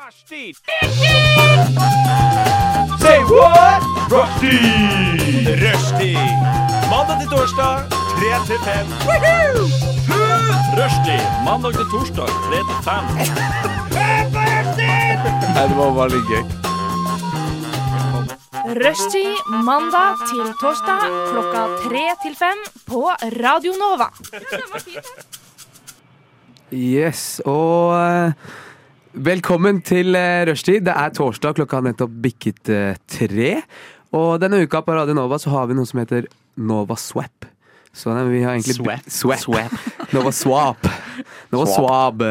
Rushdie! Say what? Rushdie! Rushdie! Mandag til torsdag, 3 til 5. Rushdie! Mandag til torsdag, 3 til 5. Rushtid mandag til torsdag klokka tre til fem på Radio Nova. Yes, og eh, velkommen til eh, rushtid. Det er torsdag, klokka har nettopp bikket eh, tre. Og denne uka på Radio Nova så har vi noe som heter Nova Swap. Så nei, vi har egentlig Swap. Swap. Nova Swap. Nova Swab.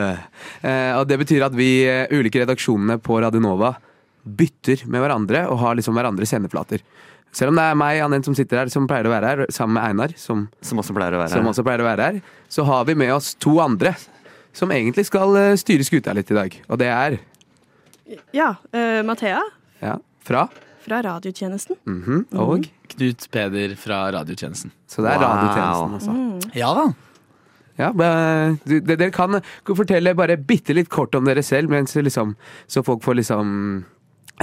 Eh, og det betyr at vi eh, ulike redaksjonene på Radio Nova bytter med hverandre og har liksom hverandres sendeplater. Selv om det er meg Anne, som sitter her, som pleier å være her, sammen med Einar, som Som også pleier å være som her. også pleier å være her, så har vi med oss to andre som egentlig skal eh, styre skuta litt i dag. Og det er Ja, eh, Mathea ja, fra fra radiotjenesten. Mm. mhm, og Knut Peder fra radiotjenesten. Så det er Wow. radiotjenesten, altså. Ja da. Ja, men, du- de- dere kan fortelle bare bitte litt kort om dere selv, mens liksom, så folk får liksom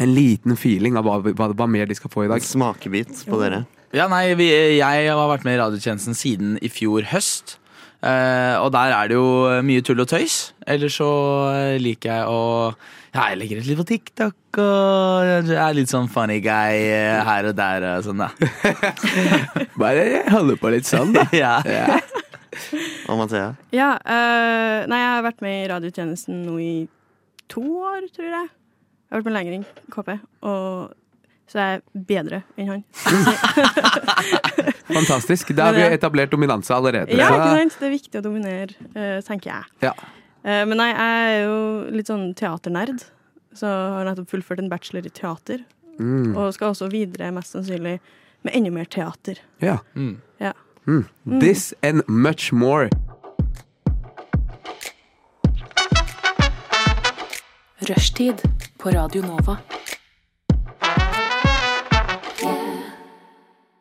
en liten feeling av hva, hva, hva mer de skal få i dag. Smakebit på dere. Ja, nei, vi, Jeg har vært med i radiotjenesten siden i fjor høst. Eh, og der er det jo mye tull og tøys. Ellers så eh, liker jeg å ja, Jeg legger ut litt på TikTok og jeg er litt sånn funny guy eh, her og der og sånn, da. Bare holde på litt sånn, da. Ja. Og Mathea. Ja, eh, nei, jeg har vært med i radiotjenesten nå i to år, tror jeg. Jeg har vært med Lengring, KP, og så jeg er bedre enn han. Fantastisk. Da har vi etablert dominanse allerede. Ja, ikke så, sant? Det er viktig å dominere, eh, tenker jeg. ja. Eh, men nei, jeg er jo litt sånn teaternerd, så har nettopp fullført en bachelor i teater. Mm, Og skal også videre, mest sannsynlig, med enda mer teater. ja. Ja. Mm. This and much more. Rushtid på Radio Nova.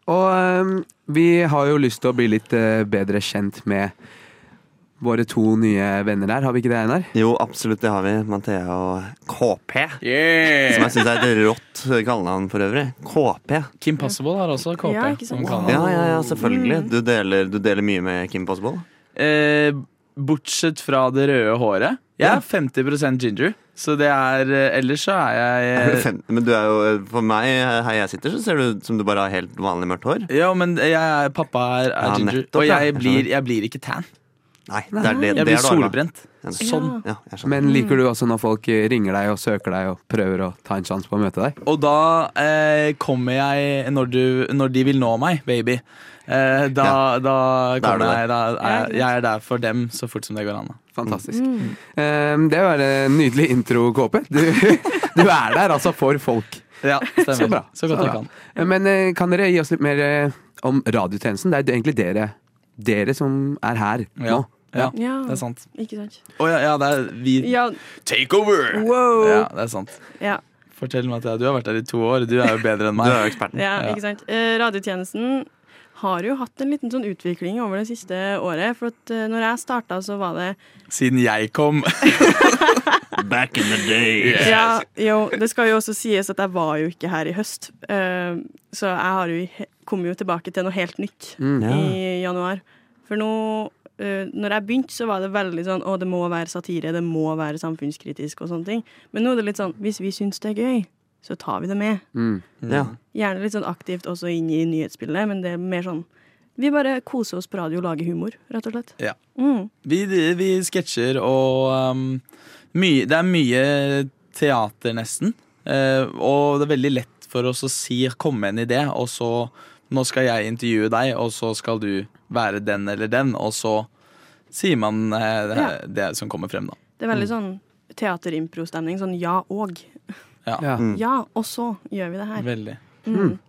Og øhm, vi har jo lyst til å bli litt øh, bedre kjent med våre to nye venner her. Har vi ikke det, Einar? Jo, absolutt, det har vi. Mathea og KP. Som jeg syns er et rått kallenavn for øvrig. KP. Kim Possible har også KP. Ja, ikke sant? som kan- Ja, ja, ja, selvfølgelig. Du deler, du deler mye med Kim Possible. Eh, bortsett fra det røde håret. Jeg er 50 ginger, så det er eh, Ellers så er jeg Er du eh, fem- Men du er jo, for meg, her jeg sitter, så ser du ut som du bare har helt vanlig mørkt hår. Ja, men jeg, er- pappa er, er Ja, ginger, nettopp, og ja. jeg Jeg blir, skjønner. jeg blir ikke tan. Nei, det er det, Jeg det blir er du arvet. solbrent. Sånn. Ja, jeg skjønner. Men liker du også når folk øh, ringer deg og søker deg og prøver å ta en sjanse på å møte deg? Og da eh, kommer jeg når, du, når de vil nå meg, baby. Eh, da, da Da er du kommer der. jeg. Da Ja, er, ikke sant. jeg er der for dem så fort som det går an. da. Mm. Fantastisk. Mm. Øhm, det var en nydelig intro, Kåpe. Du, du er der altså for folk. Ja, stemmer. Så bra. Så godt Så jeg bra. kan. Men øh, kan dere gi oss litt mer øh, om radiotjenesten? Det er jo egentlig dere, dere som er her Ja. nå. Ja, Ja, det er sant. ikke sant? Å ja, ja, det er vi Ja, Take over! wow! Ja, det er sant. Ja. Fortell meg at jeg, du har vært der i to år. Du er jo bedre enn Du meg. er jo eksperten. Ja, Ja. ikke sant. Eh, radiotjenesten har jo hatt en liten sånn utvikling over det siste året. For at eh, når jeg starta, så var det Siden jeg kom. Back in the day. Ja, jo, det skal jo også sies at jeg var jo ikke her i høst. Eh, så jeg har jo, i he- kom jo tilbake til noe helt nytt Mm. i januar. For nå eh, når jeg begynte, så var det veldig sånn Å, det må være satire, det må være samfunnskritisk og sånne ting. Men nå er det litt sånn Hvis vi syns det er gøy, så tar vi det med. Ja. Gjerne litt sånn aktivt også inn i nyhetsbildet, men det er mer sånn Vi bare koser oss på radio og lager humor, rett og slett. Ja. Mm. Vi, vi sketsjer og um, mye, Det er mye teater, nesten. Eh, og det er veldig lett for oss å si 'komme med en idé', og så 'nå skal jeg intervjue deg', og så skal du være den eller den, og så sier man eh, det, Ja. det som kommer frem, da. Det er veldig sånn teaterimpro-stemning. Sånn ja og. Ja. Ja, og så gjør vi det her. Veldig.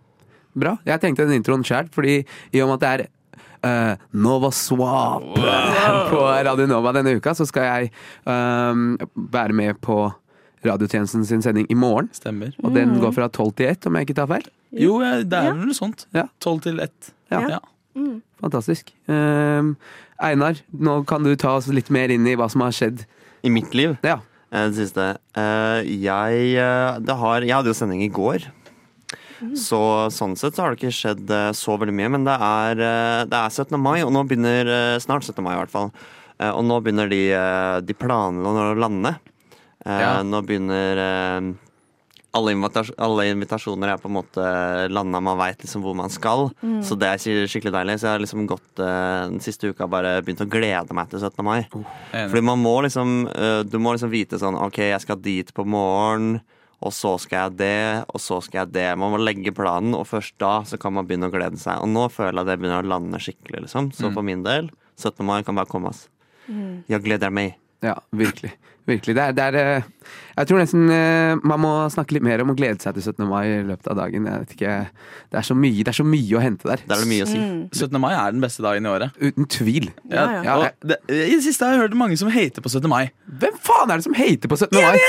Bra. Jeg tenkte den introen sjæl, fordi i og med at det er eh, Nova Swap på Radio Nova denne uka, så skal jeg ehm, være med på radiotjenesten sin sending i morgen. Stemmer. Og den går fra tolv til ett, om jeg ikke tar feil. Jo, eh, det er Ja. vel noe sånt. Ja. Tolv til ett. Ja. Ja. Fantastisk. Eh, Ehm, Einar, nå kan du ta oss litt mer inn i hva som har skjedd. I mitt liv Ja. Eh, Det siste. Eh, Jeg, eh, det har, jeg hadde jo sending i går. Så sånn sett så har det ikke skjedd eh, så veldig mye, men det er, eh, det er 17. mai, og nå begynner eh, snart 17. mai i hvert fall. Eh, Og nå begynner de, eh, de planene å lande. Eh, Ja. Nå begynner eh, alle, invitas alle invitasjoner er på en måte landa, man veit liksom hvor man skal. Så det er skik- skikkelig deilig. Så jeg har liksom gått eh, den siste uka bare begynt å glede meg til 17. mai. Enig. Fordi man må liksom øh, Du må liksom vite sånn OK, jeg skal dit på morgen, og så skal jeg det, og så skal jeg det. Man må legge planen, og først da så kan man begynne å glede seg. Og nå føler jeg det begynner å lande skikkelig, liksom. Så Mm. for min del, 17. mai kan bare komme, ass. Jeg gleder meg. Ja, virkelig. Virkelig. Det er, det er eh, Jeg tror nesten eh, man må snakke litt mer om å glede seg til 17. mai i løpet av dagen. Jeg vet ikke. Det er så mye, det er så mye å hente der. Det er det mye å si. 17. mai er den beste dagen i året. Uten tvil. Ja, ja. Ja, og jeg- det, I det siste har jeg hørt mange som hater på 17. mai. Hvem faen er det som hater på 17. mai?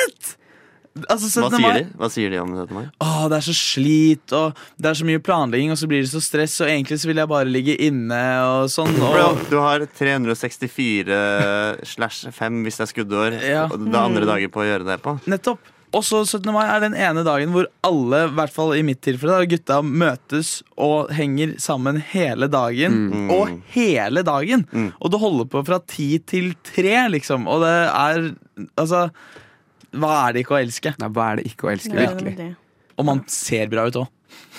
Altså, 17. Hva sier mai- de? Hva sier de om 17. mai? Åh, det er så slit, og det er så mye planlegging, og så blir det så stress, og egentlig så vil jeg bare ligge inne og sånn. Bro, Og, du har 364 slash 5 hvis det er skuddår. Ja. Og det er andre dager på å gjøre det på. nettopp. Og så 17. mai er den ene dagen hvor alle, i hvert fall i mitt tilfelle, da, gutta møtes og henger sammen hele dagen. Og hele dagen! Og det holder på fra ti til tre, liksom. Og det er Altså, hva er det ikke å elske? Nei, hva er det ikke å elske? Ja, det Virkelig. var det. Og man ser bra ut òg.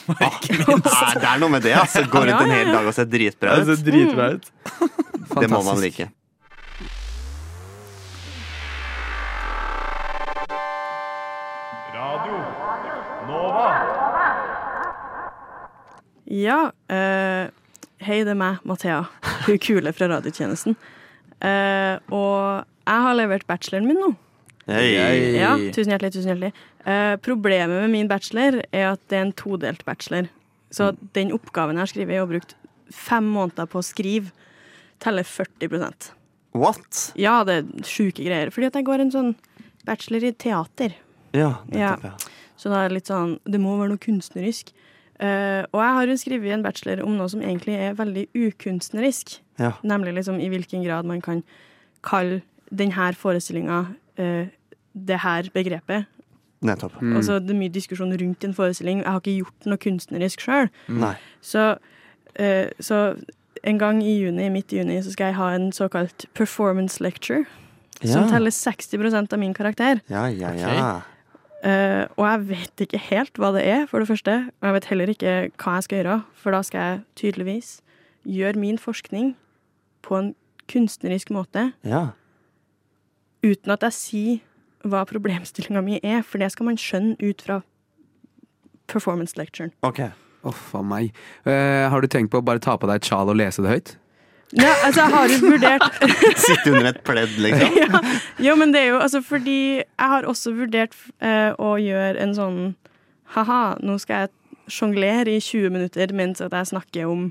Nei, det er noe med det, altså. Går ut en hel dag og ser dritbra ut. dritbra Det ut. må man Fantastisk. like. Radio Nova. Ja. eh, hei, det er meg, Mathea. Hun kule fra radiotjenesten. Eh, og jeg har levert bacheloren min nå. Hei. Ja, tusen hjertelig, tusen hjertelig. Eh, problemet med min bachelor er at det er en todelt bachelor. Så den oppgaven jeg har skrevet, jeg har brukt fem måneder på å skrive, teller 40 What? Ja, det er sjuke greier. Fordi at jeg går en sånn bachelor i teater. Ja, Ja. nettopp, ja. Så da er det litt sånn Det må være noe kunstnerisk. Eh, og jeg har jo skrevet en bachelor om noe som egentlig er veldig ukunstnerisk. Ja. Nemlig liksom i hvilken grad man kan kalle denne forestillinga eh, det her begrepet. Nettopp. Altså, det er mye diskusjon rundt en forestilling. Jeg har ikke gjort noe kunstnerisk sjøl. Nei. Så, eh, så en gang i juni, midt i juni, så skal jeg ha en såkalt performance lecture. Som teller 60 av min karakter. Ja, ja, ja. Eh, og jeg vet ikke helt hva det er, for det første. Og jeg vet heller ikke hva jeg skal gjøre, for da skal jeg tydeligvis gjøre min forskning på en kunstnerisk måte Ja. uten at jeg sier hva problemstillinga mi er, for det skal man skjønne ut fra performance lecturen. Ok. Å, faen meg. Eh, har du tenkt på å bare ta på deg et sjal og lese det høyt? Ja, altså, jeg har jo vurdert Sitte under et pledd, liksom. Jo, men det er jo altså fordi jeg har også vurdert eh, å gjøre en sånn Haha, nå skal jeg sjonglere i 20 minutter mens at jeg snakker om,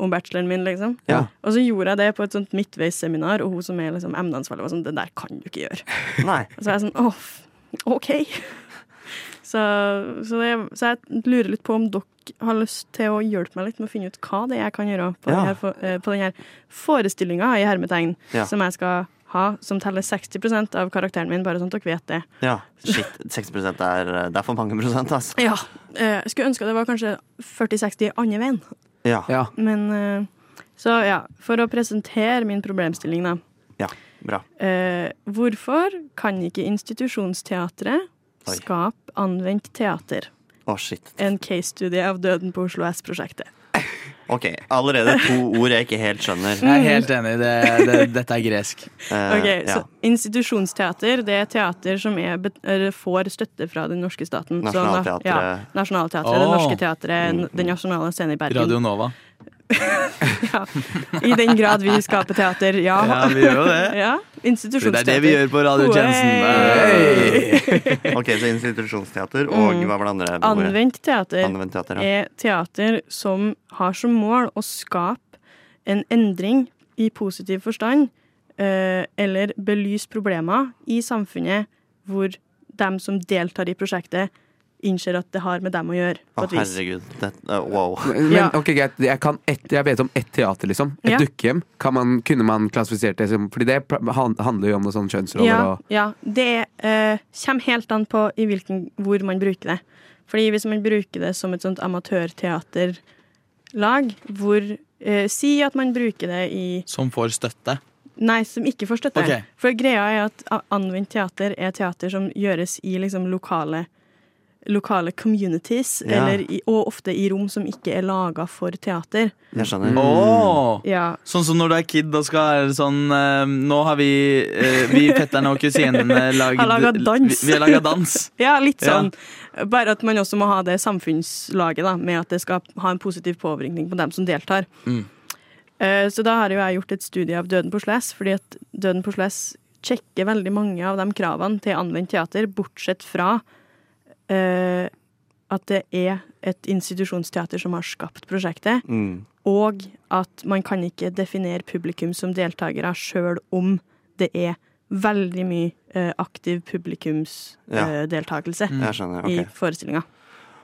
om bacheloren min, liksom. Ja. Og så gjorde jeg det på et sånt midtveisseminar, og hun som er liksom emneansvarlig var sånn Det der kan du ikke gjøre. Nei. Og så er jeg sånn åh, f- OK. Så, så, det, så jeg lurer litt på om dere har lyst til å hjelpe meg litt med å finne ut hva det er jeg kan gjøre på Ja. denne, for, eh, på den her forestillinga i hermetegn Ja. som jeg skal ha, som teller 60 av karakteren min, bare sånn at dere vet det. Ja. Shit, 60 er, eh, det er for mange prosent, altså. ass. Ja. eh, Jeg skulle ønske det var kanskje 40-60 andre veien. Ja. Ja. Men eh, Så ja, for å presentere min problemstilling, da. Ja, bra. Eh, hvorfor kan ikke institusjonsteatret Oi. skape anvendt teater? Å, shit. En case study av Døden på Oslo S-prosjektet. Ok, allerede to ord jeg ikke helt skjønner. Jeg er helt enig. Det, det, dette er gresk. Eh, Ok, ja. så Institusjonsteater det er teater som er, bet- eller får støtte fra den norske staten. Så na- Nationaltheatret. Ja, Nasjonalteatret. Det Åh. norske teatret, n- Mm, Den nasjonale scenen i Bergen. Radio Nova. Ja. I den grad vi skaper teater, ja. vi gjør jo ja. Det Institusjonsteater. er det vi gjør på Hey! radiotjenesten. Ok, så institusjonsteater og hva var det andre? ordet? Anvendt teater. Anvendt teater, ja. er teater som har som mål å skape en endring i positiv forstand, eh, eller belyse problemer i samfunnet hvor dem som deltar i prosjektet, innser at det har med dem å gjøre. Å, På et vis. herregud. Det, eh, wow. Men Ja. ok, greit, jeg, kan ett- jeg vet om ett teater, liksom. Et Ja. dukkehjem. Kan man, kunne man klassifisert det som Fordi det pl- han- handler jo om noen sånne kjønnsroller Ja, og ja, det eh, kommer helt an på i hvilken, hvor man bruker det. Fordi hvis man bruker det som et sånt amatørteaterlag, hvor eh, Si at man bruker det i Som får støtte. Nei, som ikke får støtte. Ok. For greia er at a- anvendt teater er teater som gjøres i liksom lokale Lokale communities, Ja. eller i, og ofte i rom som ikke er laga for teater. Jeg skjønner. Mm. Åh! Ja, Sånn som når du er kid og skal være sånn eh, Nå har vi, eh, vi fetterne og kusinene lagd Har laget dans. Vi, vi har laga dans. Ja, litt Ja. sånn. Bare at man også må ha det samfunnslaget, da, med at det skal ha en positiv påvirkning på dem som deltar. Mm. Eh, Så da har jo jeg gjort et studie av Døden på Sles, fordi at Døden på Sles sjekker veldig mange av de kravene til anvendt teater, bortsett fra eh, at det er et institusjonsteater som har skapt prosjektet, Mm. og at man kan ikke definere publikum som deltakere sjøl om det er veldig mye eh, aktiv eh, Ja. publikumsdeltakelse Jeg skjønner. Mm. ok. i forestillinga.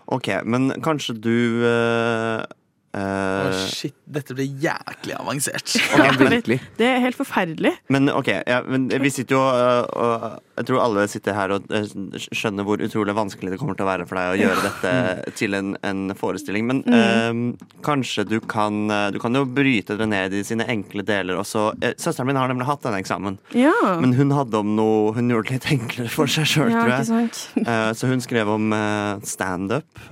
Ok, men kanskje du eh, Åh, eh, shit, dette blir jæklig avansert. Ja, virkelig. Det er helt forferdelig. Men ok, ja, men vi sitter jo eh, og Jeg tror alle sitter her og eh, skjønner hvor utrolig vanskelig det kommer til å være for deg å gjøre dette til en, en forestilling. Men Mm. eh, kanskje du kan eh, Du kan jo bryte det ned i sine enkle deler også. Eh, Søsteren min har nemlig hatt denne eksamen, Ja. men hun hadde om noe Hun gjorde det litt enklere for seg sjøl, tror ikke jeg. sant? Eh, så hun skrev om eh, standup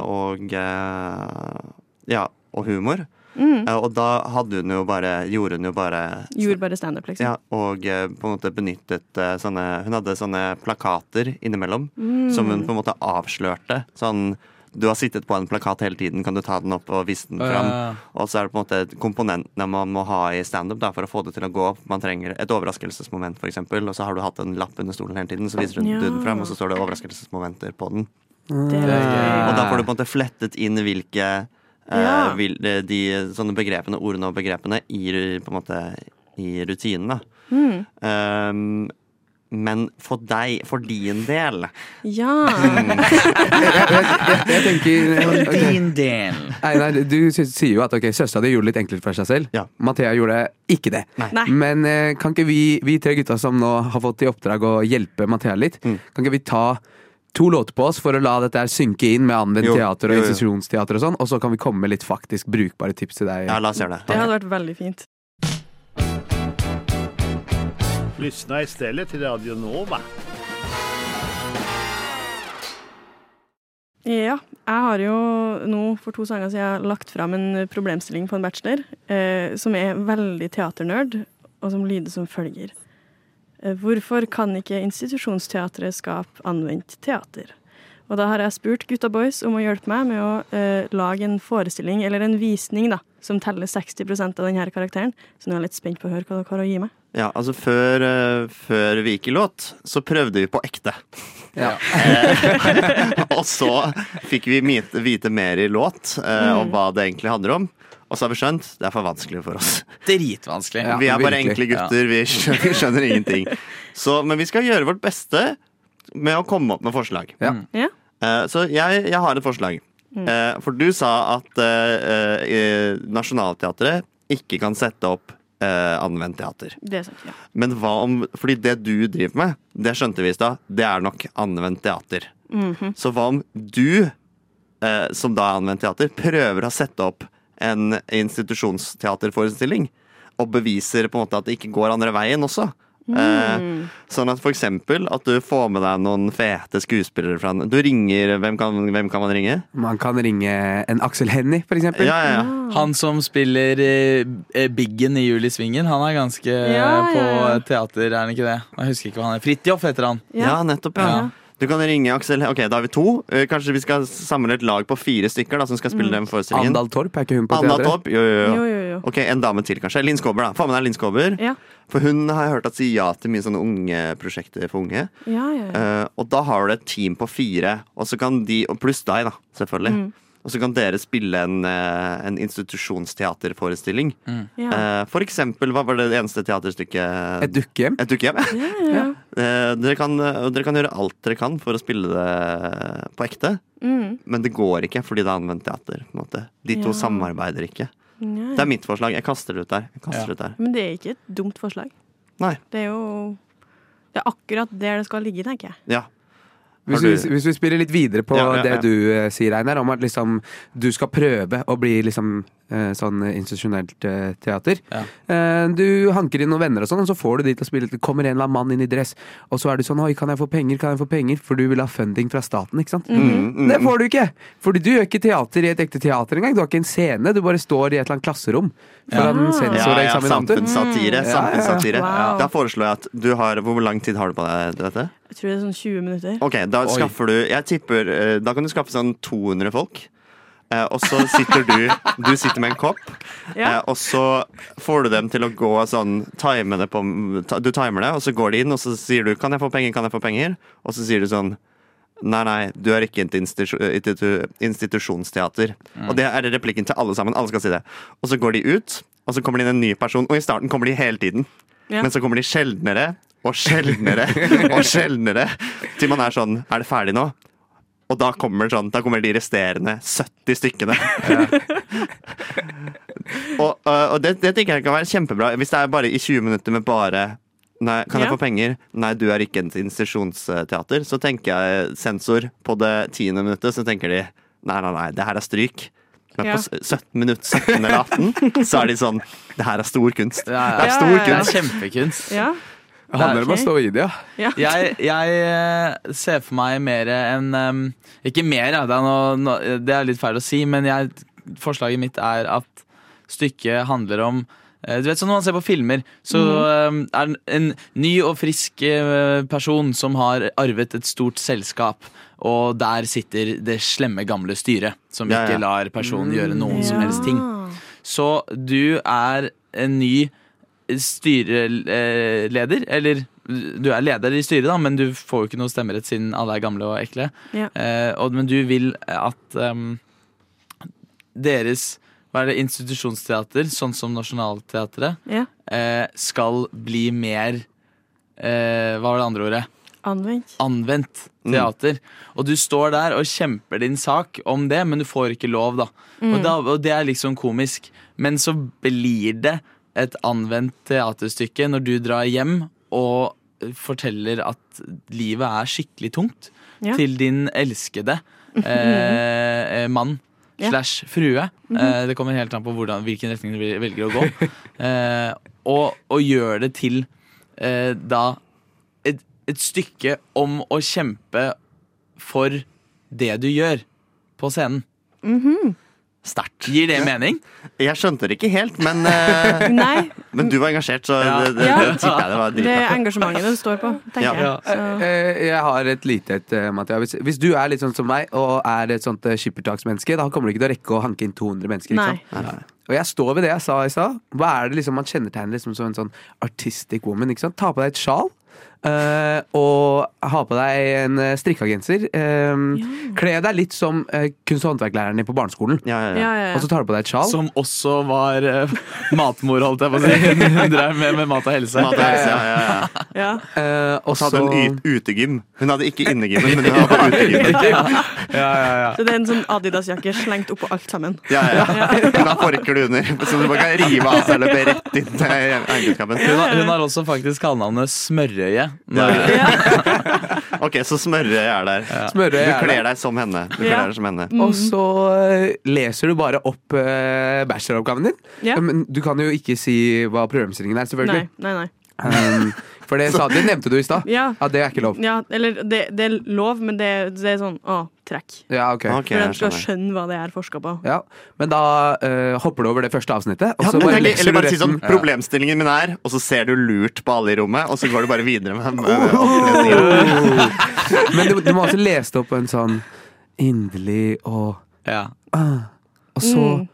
eh, og eh, Ja, og humor. Mm. Eh, og da hadde hun jo bare Gjorde hun jo bare Gjorde bare standup, liksom. ja, og eh, på en måte benyttet eh, sånne Hun hadde sånne plakater innimellom som hun på en måte avslørte. Sånn Du har sittet på en plakat hele tiden, kan du ta den opp og vise den Ja, fram? ja, ja. Og så er det på en måte komponentene man må ha i standup da, for å få det til å gå opp. Man trenger et overraskelsesmoment, f.eks., og så har du hatt en lapp under stolen hele tiden, så viser du Ja. den fram, og så står det overraskelsesmomenter på den. Det er veldig gøy. Og da får du på en måte flettet inn hvilke eh, Ja. vil, de, de sånne begrepene, ordene og begrepene i, ru- på en måte, i rutinen. Da. Um, men for deg, for din del Ja. Jeg tenker ok. Din del. Einar, du sy- sier jo at okay, søstera di gjorde det litt enklere for seg selv. Ja. Mathea gjorde ikke det. Nei. Men eh, kan ikke vi, vi tre gutta som nå har fått i oppdrag å hjelpe Mathea litt, Mm. kan ikke vi ta to låter på oss for å la dette her synke inn med anvendt Jo, teater og jo, jo. institusjonsteater og sånn, og så kan vi komme med litt faktisk brukbare tips til deg. Ja, la oss gjøre Det det. hadde vært veldig fint. Lyssna istället till Radio Nova. Ja. Jeg har jo nå for to sanger siden lagt fram en problemstilling på en bachelor eh, som er veldig teaternerd, og som lyder som følger. Eh, Hvorfor kan ikke institusjonsteatret skape anvendt teater? Og da har jeg spurt gutta boys om å hjelpe meg med å eh, lage en forestilling, eller en visning, da, som teller 60 av denne karakteren. Så nå er jeg litt spent på å høre hva dere har å gi meg. Ja, altså før, eh, før vi gikk i låt, så prøvde vi på ekte. Eh, Ja. Og så fikk vi vite, vite mer i låt eh, om hva det egentlig handler om. Og så har vi skjønt det er for vanskelig for oss. Dritvanskelig. Ja. vi er bare virkelig. enkle gutter, vi skjønner, vi skjønner ingenting. Så, men vi skal gjøre vårt beste med å komme opp med forslag. Ja. Ja? Eh, så jeg, jeg har et forslag. Eh, for du sa at eh, eh, Nationaltheatret ikke kan sette opp eh, anvendt teater. Det er sant. Ja. Men hva om Fordi det du driver med, det skjønte vi i stad, det er nok anvendt teater. Så hva om du, eh, som da er anvendt teater, prøver å sette opp en institusjonsteaterforestilling? Og beviser på en måte at det ikke går andre veien også. Eh, sånn at for eksempel at du får med deg noen fete skuespillere fra Du ringer Hvem kan, hvem kan man ringe? Man kan ringe en Aksel Hennie, for Ja, eksempel. ja, ja. Han som spiller eh, eh, Biggen i Jul i Svingen, han er ganske eh, Ja, ja, på ja. teater, er han ikke det? Jeg husker ikke hva han er. Fridtjof heter han. Ja, nettopp, ja. Ja. Du kan ringe Aksel Ok, da er vi to. Eh, Kanskje vi skal samle et lag på fire stykker da, som skal spille den forestillingen. Andal Torp, er ikke hun på Anna teatret? Torp. Jo, jo, jo. Jo, jo, jo. Ok, En dame til, kanskje. Linn Skåber, da. Få med deg Linn Skåber. Ja. For hun har jeg hørt at sier ja til mye sånne unge prosjekter for unge. Ja, ja, ja. Mm. Eh, og da har du et team på fire, og så kan de, og pluss deg, da, selvfølgelig. Og så kan dere spille en, eh, en institusjonsteaterforestilling. Mm. Ja. Eh, For eksempel, hva var det eneste teaterstykket? Et dukkehjem. Et dukkehjem. Eh, Dere, kan- og dere kan gjøre alt dere kan for å spille det på ekte, Mm. men det går ikke fordi det er anvendt teater. på en måte. De to Ja. samarbeider ikke. Nei. Det er mitt forslag. Jeg kaster det ut der. Jeg kaster Ja. det ut der. Men det er ikke et dumt forslag. Nei. Det er jo Det er akkurat der det skal ligge, tenker jeg. Ja. Hvis Har vi, du- hvis vi spiller litt videre på Ja, ja, ja. det du eh, sier, Einar, om at liksom, du skal prøve å bli liksom, eh, sånn institusjonelt eh, teater. Ja. Eh, du hanker inn noen venner, og sånn, og så får du de til å spille. Det kommer en eller annen mann inn i dress, og så er du sånn Oi, kan jeg få penger? Kan jeg få penger? For du vil ha funding fra staten, ikke sant? Mm-hmm. Det får du ikke! Fordi du gjør ikke teater i et ekte teater engang. Du har ikke en scene, du bare står i et eller annet klasserom foran Ja. sensor Ja, og ja, eksaminator. samfunnssatire. samfunnssatire. Wow. Da foreslår jeg at du har Hvor lang tid har du på deg til dette? Jeg tror det er sånn 20 minutter. Ok, da Oi. skaffer du Jeg tipper eh, Da kan du skaffe sånn 200 folk. Eh, og så sitter du Du sitter med en kopp, eh, Ja. og så får du dem til å gå sånn time det på, ta, Du timer det, og så går de inn, og så sier du 'Kan jeg få penger? Kan jeg få penger?' Og så sier du sånn Nei, nei, du er ikke institu institu institusjonsteater. Mm. Og det er replikken til alle sammen. Alle skal si det. Og så går de ut, og så kommer det inn en ny person. Og i starten kommer de hele tiden. Ja. Men så kommer de sjeldnere og sjeldnere og sjeldnere. Til man er sånn Er det ferdig nå? Og da kommer, sånn, da kommer de resterende 70 stykkene. og øh, og det, det tenker jeg kan være kjempebra. Hvis det er bare i 20 minutter med bare Nei, kan jeg Ja. få penger? Nei, du er ikke en institusjonsteater. Så tenker jeg sensor på det tiende minuttet, så tenker de nei, nei, nei, det her er stryk. Men Ja. på s- 17 minutt, 17 eller 18, så er de sånn Det her er stor kunst. Ja, ja. Det er Ja, stor ja, ja. Det kunst. er kjempekunst. Ja. Det handler om å Ok. stå i det, ja. ja. jeg, jeg eh, ser for meg mer enn em, Ikke mer, ja, det er, noe, no- det er litt feil å si, men jeg, forslaget mitt er at stykket handler om eh, du vet sånn Når man ser på filmer, så Mm. em, er det en ny og frisk eh, person som har arvet et stort selskap, og der sitter det slemme, gamle styret, som Ja, ja. ikke lar personen gjøre noen som helst ting. Ja. Så du er en ny styreleder, eller du er leder i styret, da, men du får jo ikke noe stemmerett siden alle er gamle og ekle. Ja. Eh, og, men du vil at em, deres hva er det, institusjonsteater, sånn som Nationaltheatret, Ja. eh, skal bli mer eh, Hva var det andre ordet? Anvendt. anvendt teater. Og du står der og kjemper din sak om det, men du får ikke lov, da. Mm. Og, da, og det er liksom komisk. Men så blir det et anvendt teaterstykke når du drar hjem og eh, forteller at livet er skikkelig tungt Ja. Mhm. til din elskede eh, eh, mann. Ja. Mhm. Slash frue. eh, det kommer helt an på hvordan, hvilken retning du vil- velger å gå. eh, og, og gjør det til eh, da et, et stykke om å kjempe for det du gjør på scenen. Sterkt. Gir det mening? Jeg skjønte det ikke helt, men, eh, Nei, men du var engasjert, så Ja. det, det, Ja. det tipper jeg det var det dritbra. er engasjementet det står på, tenker Ja. jeg. Så, Eh, Jeg har et lite et, eh, Mathea. Hvis, hvis du er litt sånn som meg, og er et sånt eh, skippertaksmenneske, da kommer du ikke til å rekke å hanke inn 200 mennesker. nei. Ikke sant? Og jeg står ved det jeg sa i stad. Hva er det liksom man kjennetegner liksom som en sånn artistic woman? Ikke sant? Ta på deg et sjal. eh, og ha på deg en eh, strikka genser. eh, Kle deg litt som eh, kunst- og håndverklæreren din på barneskolen. Ja, ja, ja. Ja, ja, Og så ja. tar du på deg et sjal. Som også var eh, matmor, holdt jeg på å si. Hun drev med, med mat og helse. Mat og helse, ja, ja, ja. ja. eh, og Og så hadde hun så- y- utegym. Hun hadde ikke innegymmen, men hun hadde utegymmen. Ja, ja, ja. Så det er en sånn Adidas-jakke slengt oppå alt sammen. Ja, ja. Hun har forkle under, så du bare kan rive av seg løpet rett inn til eiendomskampen. Hun, har- hun har også faktisk kallenavnet Smørøye. Ja, Når- Ok, så smørøye er der. Smørøye Du er kler der. deg som henne. Du Ja. kler deg som henne. Og Mhm. så eh, leser du bare opp eh, bacheloroppgaven din. Ja. Men du kan jo ikke si hva programstillingen er, selvfølgelig. Nei, nei, nei. Um, for det, sa, det nevnte du i stad. Ja. Ja, det er ikke lov. ja eller det, det er lov, men det, er- det er sånn å, trekk. Ja, ok. Ok, For jeg den skal skjønner. skjønne hva det er forska på. Ja. Men da eh, hopper du over det første avsnittet. Og Ja, så men bare tenk- leser eller du bare si sånn resten. Ja. Problemstillingen min er Og så ser du lurt på alle i rommet, og så går du bare videre Oh. med, med opplesningen. Men du, du må også lese det opp på en sånn inderlig og Ja. Og så, Mm.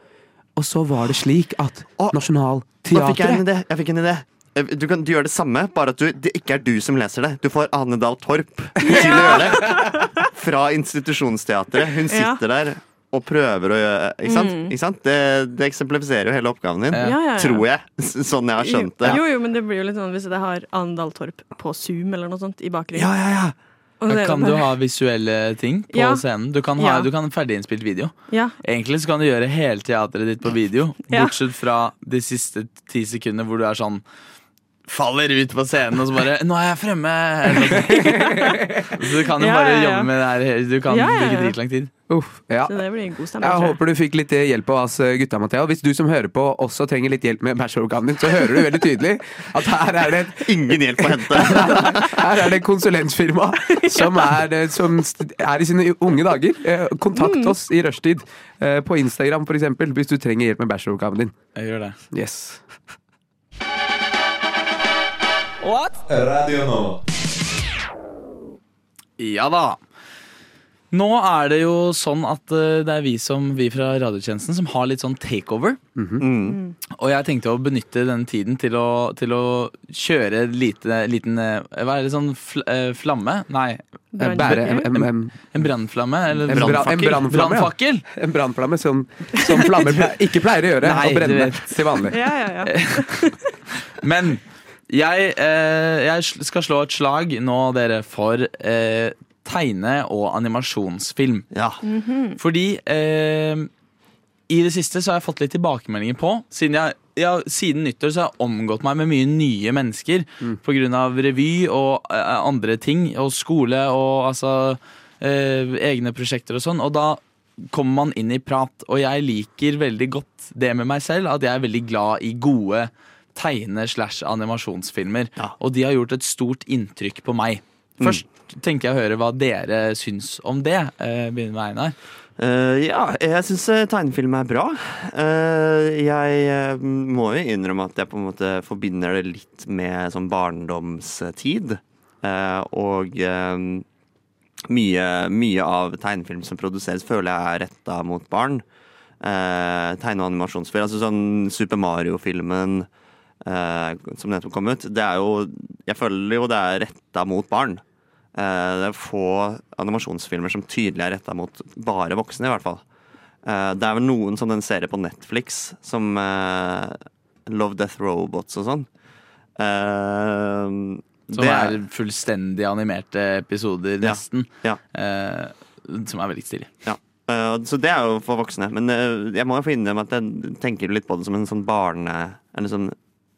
og så var det slik at Nå fikk jeg en Nationaltheatret idé. Jeg fikk en idé. Eh, Du, kan, du gjør det samme, bare at du, det ikke er du som leser det. Du får Ane Dahl Torp til å gjøre det. Fra institusjonsteatret. Hun sitter der og prøver å gjøre Ikke sant? Ikke sant? Det, det eksemplifiserer jo hele oppgaven din. Ja. Mm. Ja, ja, ja. Tror jeg. Sånn jeg har skjønt det. Jo, jo, men det blir jo litt sånn hvis jeg har Andal Torp på Zoom eller noe sånt i bakgrunnen. Ja, ja, ja. Og det Da er kan bare- du ha visuelle ting på Ja. scenen. Du kan ha Ja. du kan ha ferdiginnspilt video. Ja, Egentlig så kan du gjøre hele teatret ditt på video, Ja. bortsett fra de siste ti sekundene hvor du er sånn Faller ut på scenen og så bare 'Nå er jeg fremme!' eller noe sånt. så du kan jo Ja, bare ja, ja. jobbe med det her. hele- Du kan Ja, ja, ja. bruke dritlang tid. Uff, ja. så det blir en god stemning. Jeg tror jeg. håper du fikk litt eh, hjelp av oss eh, gutta, Mathea. Hvis du som hører på også trenger litt hjelp med bacheloroppgaven din, så hører du veldig tydelig at her er det, Ingen hjelp å hente. her er det konsulentfirma som er, eh, som st- er i sine unge dager. Eh, Mm. Kontakt oss i rushtid eh, på Instagram f.eks. hvis du trenger hjelp med bacheloroppgaven din. Jeg gjør det. Yes. Ja da. Nå er det jo sånn at eh, det er vi, som, vi fra radiotjenesten som har litt sånn takeover. Mm. Og jeg tenkte å benytte den tiden til å, til å kjøre lite, liten eh, Hva er det sånn fl eh, flamme? Nei, Eh, Bære en, en, en, en brannflamme? Eller En bra- en brannflamme, ja. Brannfakkel? en brannflamme som, som flammer ple- ikke pleier å gjøre, Nei, og du brenne vet. til vanlig. Ja, ja, ja. Men jeg, eh, jeg sl- skal slå et slag nå, dere, for eh, tegne- og animasjonsfilm. Ja. Mm. Fordi eh, i det siste så har jeg fått litt tilbakemeldinger på Siden, jeg, jeg, har- siden nyttår så har jeg omgått meg med mye nye mennesker På grunn av revy og eh, andre ting Og skole og altså eh, egne prosjekter og sånn Og da kommer man inn i prat Og jeg liker veldig godt det med meg selv At jeg er veldig glad i gode tegne slash animasjonsfilmer Ja. Og de har gjort et stort inntrykk på meg Først tenker jeg å høre hva dere syns om det eh, Begynner med Einar Eh, ja, jeg syns tegnefilm er bra. Eh, jeg eh, må jo innrømme at jeg på en måte forbinder det litt med sånn barndomstid. Eh, og eh, mye, mye av tegnefilm som produseres, føler jeg er retta mot barn. Eh, tegne- og animasjonsfilm. Altså sånn Super Mario-filmen eh, som nettopp kom ut. Det er jo Jeg føler jo det er retta mot barn. Eh, Det er få animasjonsfilmer som tydelig er retta mot bare voksne, i hvert fall. Eh, Det er vel noen som den serie på Netflix, som eh, Love Death Robots og sånn. Eh, Som det er fullstendig animerte episoder, Ja. nesten. Ja. Eh, som er veldig stilig. Ja. Eh, Så det er jo for voksne. Men eh, jeg må jo få innrømme at jeg tenker litt på det som en sånn barne... Eller sånn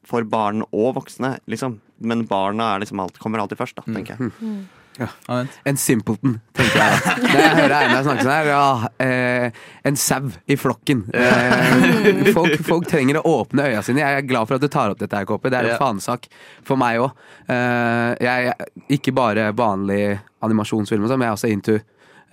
for barn og voksne, liksom. Men barna er liksom alt, kommer alltid først, da, tenker jeg. Mm. Ja, vent. En simpleton, tenker jeg. da. Når jeg hører Einar snakke sånn her, ja, eh, en sau i flokken. Eh, folk, folk trenger å åpne øya sine. Jeg er glad for at du tar opp dette her, Kåpe. Det er Ja. en fanesak for meg òg. Eh, jeg er ikke bare vanlig animasjonsfilm, og sånn, men jeg er også into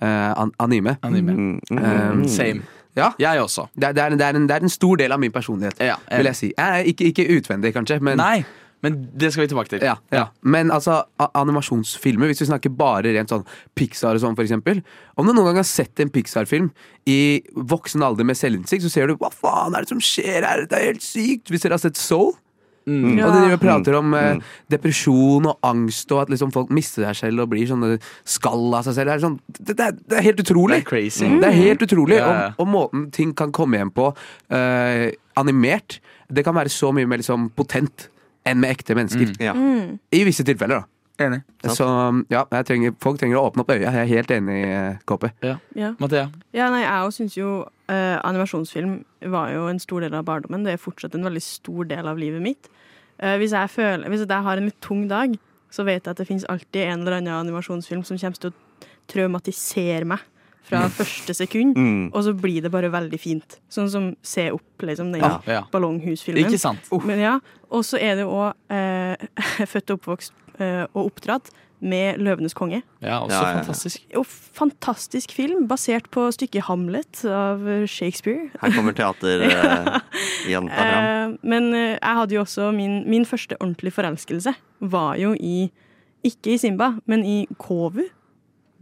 eh, an anime. Anime. Mm. Um. Eh, Same. ja. Jeg også. Det er, det, er, det, er en, det er en stor del av min personlighet, Ja, enig. vil jeg si. Jeg er ikke, ikke utvendig, kanskje, men Nei, men det skal vi tilbake til. ja, ja. Men altså, a- animasjonsfilmer, hvis vi snakker bare rent sånn Pixar og sånn, for eksempel. Om du noen gang har sett en Pixar-film i voksen alder med selvinnsikt, så ser du hva faen er det som skjer her, det er helt sykt! Hvis dere har sett Soul, og de driver og prater Mm. om eh, depresjon og angst, og at liksom folk mister seg selv og blir sånne skall av seg selv. Det er, sånn, det, det er, det er helt utrolig! Det er crazy. Mm. Det er helt utrolig. Ja, ja. Og, og måten ting kan komme hjem på eh, animert, det kan være så mye mer liksom, potent enn med ekte mennesker. Mm. Ja. I visse tilfeller, da. Enig. Så ja, jeg trenger, folk trenger å åpne opp øya. Jeg er helt enig, eh, Kåpe. Ja. ja. Mathea. Ja, nei, jeg også syns jo eh, animasjonsfilm var jo en stor del av barndommen. Det er fortsatt en veldig stor del av livet mitt. Eh, hvis, jeg føler, hvis jeg har en litt tung dag, så vet jeg at det finnes alltid en eller annen animasjonsfilm som kommer til å traumatisere meg fra første sekund, Mm. og så blir det bare veldig fint. Sånn som Se opp, liksom, den Ja. Uh. Ja. ballonghusfilmen. Ikke sant? Men ja, og så er det jo òg født og oppvokst eh, og oppdratt med 'Løvenes konge'. Ja, også Ja, ja, ja. fantastisk. Jo, fantastisk film, basert på stykket Hamlet av eh, Shakespeare. Her kommer teaterjenta fram. Eh, men eh, jeg hadde jo også min, min første ordentlige forelskelse var jo i ikke i Simba, men i Kovu.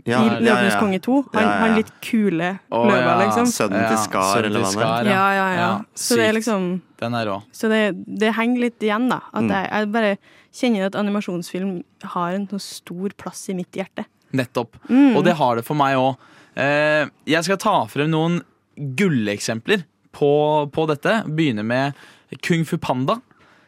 Ja, I ja, Løvenes ja. konge 2. Ja, Han, ja, ja. han litt kule Å, løva, ja. liksom. Sønnen til Ja, Skar, sønnen eller hva til det er. Skar, Ja, ja, ja. Så det sykt. er liksom Den er rå. Så det, det henger litt igjen, da. At jeg, jeg bare kjenner at animasjonsfilm har en så stor sånn plass i mitt hjerte. Nettopp. Og det har det for meg òg. Eh, jeg skal ta frem noen gulleksempler på, på dette. Begynner med Kung Fu Panda.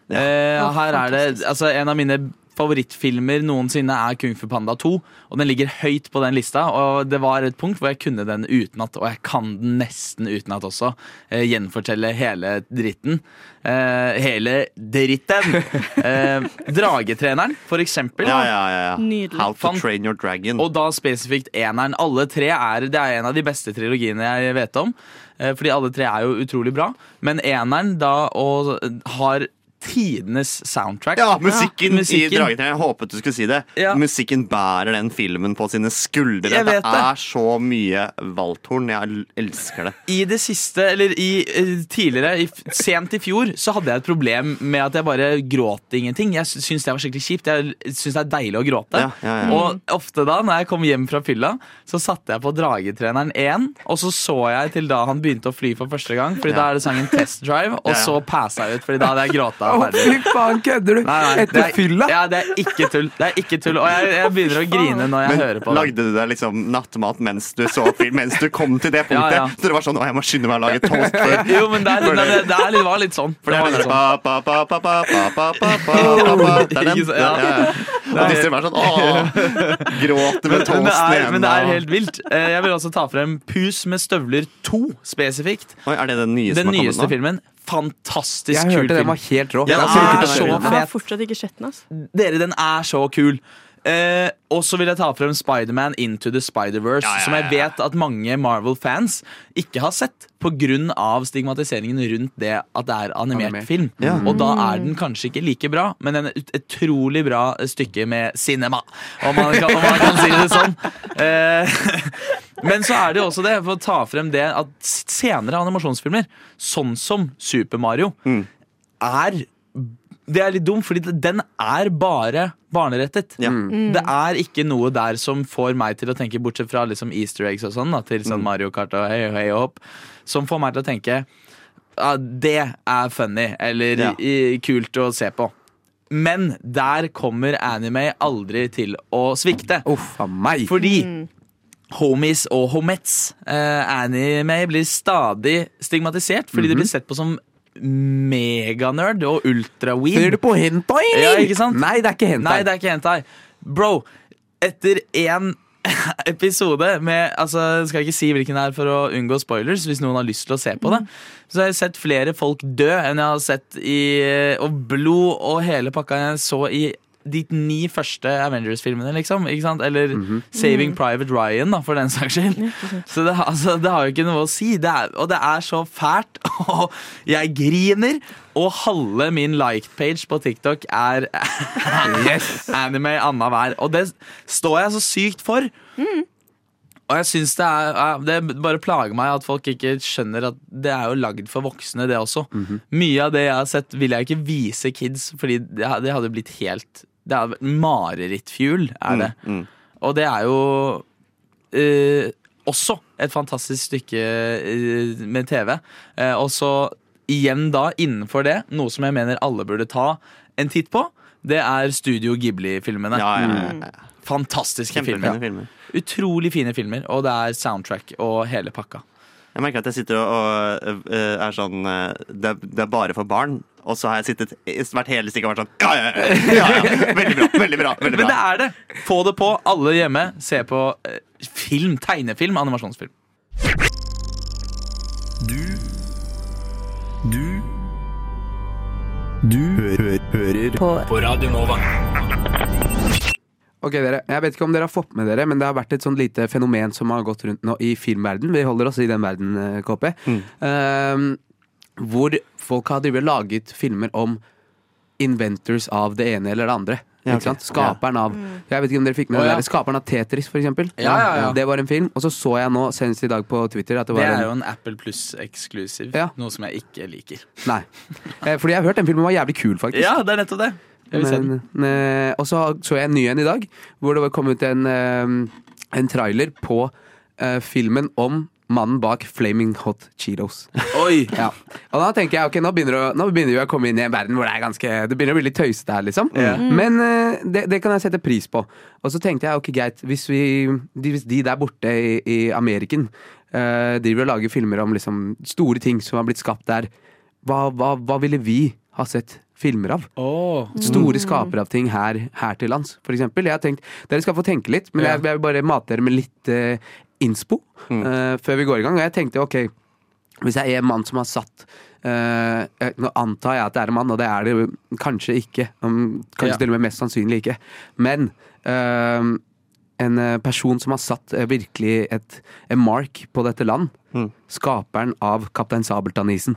Eh, Ja, her er det, fantastisk. altså En av mine favorittfilmer noensinne er Kung Fu Panda 2. Og den ligger høyt på den lista. Og det var et punkt hvor jeg kunne den utenat, og jeg kan den nesten utenat også. Eh, gjenfortelle hele dritten. Eh, hele dritten! Eh, dragetreneren, for eksempel. Ja, ja, ja, ja. Nydelig. How to Fan- train your dragon. Og da spesifikt eneren. Alle tre er, det er en av de beste trilogiene jeg vet om. eh, Fordi alle tre er jo utrolig bra. Men eneren da og, har tidenes soundtrack. ja, musikken, i musikken. Dragen. Jeg håpet du skulle si det. Ja. Musikken bærer den filmen på sine skuldre. Jeg det vet det. er så mye valthorn. Jeg l- elsker det. I det siste, eller i, eh, tidligere, i, f- sent i fjor, så hadde jeg et problem med at jeg bare gråt ingenting. Jeg sy- syns det var skikkelig kjipt. Jeg syns det er deilig å gråte. Ja, ja, ja. Og ofte da, når jeg kom hjem fra fylla, så satte jeg på Dragetreneren 1, og så så jeg til da han begynte å fly for første gang, fordi da er det sangen Test Drive, og Ja, ja. så passa jeg ut, fordi da hadde jeg gråta Å, ferdig. fy faen, kødder du? Nei, nei, det Etter er- fylla? Ja, det er ikke tull. Det er ikke tull. Og jeg, jeg begynner å grine når jeg Men hører på det. lagde du deg liksom nattmat mens du så film? Mens du kom til det Ja, punktet? ja. Så det var sånn Å, jeg må skynde meg å lage toast. før- Jo, men det, er, litt- det, er- det, er litt- var litt sånn. For det var var litt sånn sånn. ba, ba, ba, ba, ba, ba, ba, ba, ba, ba, ba. Det er den. Ikke sant, ja. Ja, ja. Og Disney var sånn Åh, gråter med Men det, toasten i er, men det er hendene. helt vilt. Eh, Jeg vil også ta frem Pus med støvler 2 spesifikt. Oi, er det den nye Den som har kommet nyeste nå? filmen. Fantastisk Jeg kul hørte den film. var helt rå. Jeg Ja, den har sikkert er ikke så den Jeg har fet. fortsatt ikke sett den, altså. Dere, den er så kul. Eh, og så vil jeg ta frem Spiderman Into the Spider-Verse, Ja, ja, ja, som jeg ja. vet at mange Marvel-fans ikke har sett pga. stigmatiseringen rundt det at det er animert Animert. film. Ja. Og da er den kanskje ikke like bra, men en ut- utrolig bra eh, stykke med cinema, om man kan, om man kan si det sånn. Eh, men så er det jo også det, for å ta frem det at s- senere animasjonsfilmer, sånn som Super Mario, er det er litt dumt, fordi den er bare barnerettet. Mm. Ja. Det er ikke noe der som får meg til å tenke, bortsett fra liksom easter eggs og sånn, da, til Mm. sånn Mario Kart og hei og hei og hopp, som får meg til å tenke ja, det er funny, eller Ja. i, kult å se på. Men der kommer anime aldri til å svikte. Uff a meg. Fordi homies og homets, eh, anime, blir stadig stigmatisert fordi de blir sett på som meganerd og Ser ultraweeb. du på hentai? Ja, ikke sant? Nei, det er ikke hentai. Nei, det er ikke hentai. Bro, etter én episode med altså, Skal jeg ikke si hvilken det er for å unngå spoilers, hvis noen har lyst til å se på det. Så har jeg sett flere folk dø enn jeg har sett i eh, Og blod og hele pakka jeg så i de ni første Avengers-filmene, liksom. Ikke sant? Eller Saving Private Ryan, da, for den saks skyld. Så det, har- altså, det har jo ikke noe å si. Det er, og det er så fælt. Og jeg griner. Og halve min like-page på TikTok er anime annenhver. Og det står jeg så sykt for. Og jeg synes det er ja, Det bare plager meg at folk ikke skjønner at det er jo lagd for voksne, det også. Mhm. Mye av det jeg har sett, vil jeg ikke vise kids, fordi det, ha- det hadde blitt helt Det er marerittfjul, er det. Mm, Og det er jo eh, også et fantastisk stykke eh, med TV. Eh, og så igjen da, innenfor det, noe som jeg mener alle burde ta en titt på, det er Studio Ghibli-filmene. Ja, ja, Mm. ja, ja. Fantastiske filmer. Kjempefine filmer. Utrolig fine filmer, og det er soundtrack og hele pakka. Jeg merker at jeg sitter og, og øh, øh, er sånn øh, det, er- det er bare for barn. Og så har jeg sittet hvert hele stikket og vært sånn ja, ja, ja, ja, ja. Veldig bra. veldig bra, veldig Men det bra. er det! Få det på, alle hjemme. Se på eh, film, tegnefilm, animasjonsfilm. Ok dere, Jeg vet ikke om dere har fått med dere, men det har vært et sånn lite fenomen som har gått rundt nå i filmverden. Vi holder oss i den verden, eh, KP. Mm. Ehm, hvor folk har drevet og laget filmer om inventors av det ene eller det andre. Ja, ikke sant? ok. Ja. Skaperen av Jeg vet ikke om dere fikk med Å, det ja. der, skaperen av Tetris, for eksempel. Ja, ja, ja. Det var en film. Og så så jeg nå senest i dag på Twitter at det var Det er en jo en Apple Plus eksklusiv, Ja. noe som jeg ikke liker. Nei. Eh, Fordi jeg har hørt den filmen var jævlig kul, faktisk. Ja, det er nettopp det. Jeg vil se den. Men, eh, og så så jeg en ny en i dag, hvor det var kommet en, eh, en trailer på eh, filmen om mannen bak Flaming Hot Cheetos. Oi! Ja. Og da tenker jeg, ok, nå begynner, å, nå begynner vi å komme inn i en verden hvor det er ganske Det begynner å bli litt tøysete her, liksom. Men eh, det, det kan jeg sette pris på. Og så tenkte jeg, ok, greit, hvis, vi, de, hvis de der borte i, i Ameriken eh, driver og lager filmer om liksom, store ting som har blitt skapt der, hva, hva, hva ville vi ha sett filmer av? Åh. Store Mm. skapere av ting her, her til lands, for eksempel. Jeg har tenkt, dere skal få tenke litt, men Ja. Mm. jeg, jeg vil bare mate dere med litt eh, innspo eh, før vi går i gang. Og jeg tenkte, ok, hvis jeg er en mann som har satt eh, eh, Nå antar jeg at det er en mann, og det er det jo kanskje ikke. um, Kanskje Ja. til og med mest sannsynlig ikke. Men eh, en eh, person som har satt eh, virkelig et, en mark på dette land. Mm. Skaperen av Kaptein Sabeltann-isen.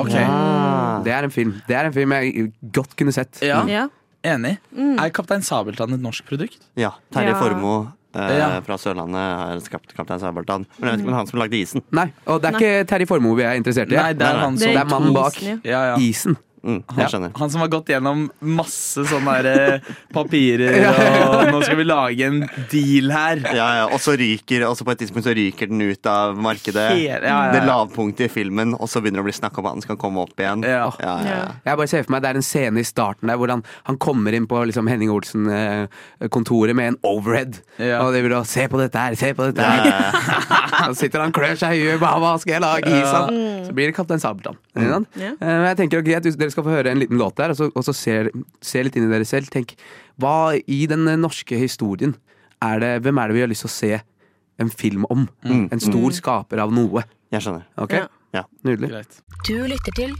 Ok, Ah. Det er en film Det er en film jeg godt kunne sett. Ja. Ja. enig. Er Kaptein Sabeltann et norsk produkt? Ja, Terje Ja. Formoe eh, Ja. fra Sørlandet har skapt Kaptein Sabeltann. Men jeg vet ikke om det er han som lagde isen. Nei, og det er ikke Terje Formoe vi er interessert i. Nei, det er han Det som er det er mannen bak isen, ja, ja. isen. Mm, Ja. jeg skjønner. Han som har gått gjennom masse sånne der, eh, papirer og nå skal vi lage en deal her. Ja, ja, og så ryker, og så på et tidspunkt så ryker den ut av markedet. Hele- ja, ja, ja. Det lavpunktet i filmen, og så begynner det å bli snakk om at den skal komme opp igjen. Ja. Ja, ja, ja. Jeg bare ser for meg Det er en scene i starten der hvor han, han kommer inn på liksom Henning Olsen-kontoret med en overhead. Ja. Og de vil da 'se på dette her, se på dette Ja, her'. ja, ja. Og så sitter han og klør seg i huet. Hva, hva skal jeg lage is av? Så blir det Kaptein Sabeltann. ikke sant? Mm. Ja. Eh, Men jeg tenker ok, at Dere skal få høre en liten låt der, og så, og så ser, se litt inn i dere selv. Tenk, hva i den norske historien er det, Hvem er det vi har lyst til å se en film om? En stor skaper av noe. Jeg skjønner. Ok? Mm. Ja. Ja. Nydelig. Greit. Du lytter til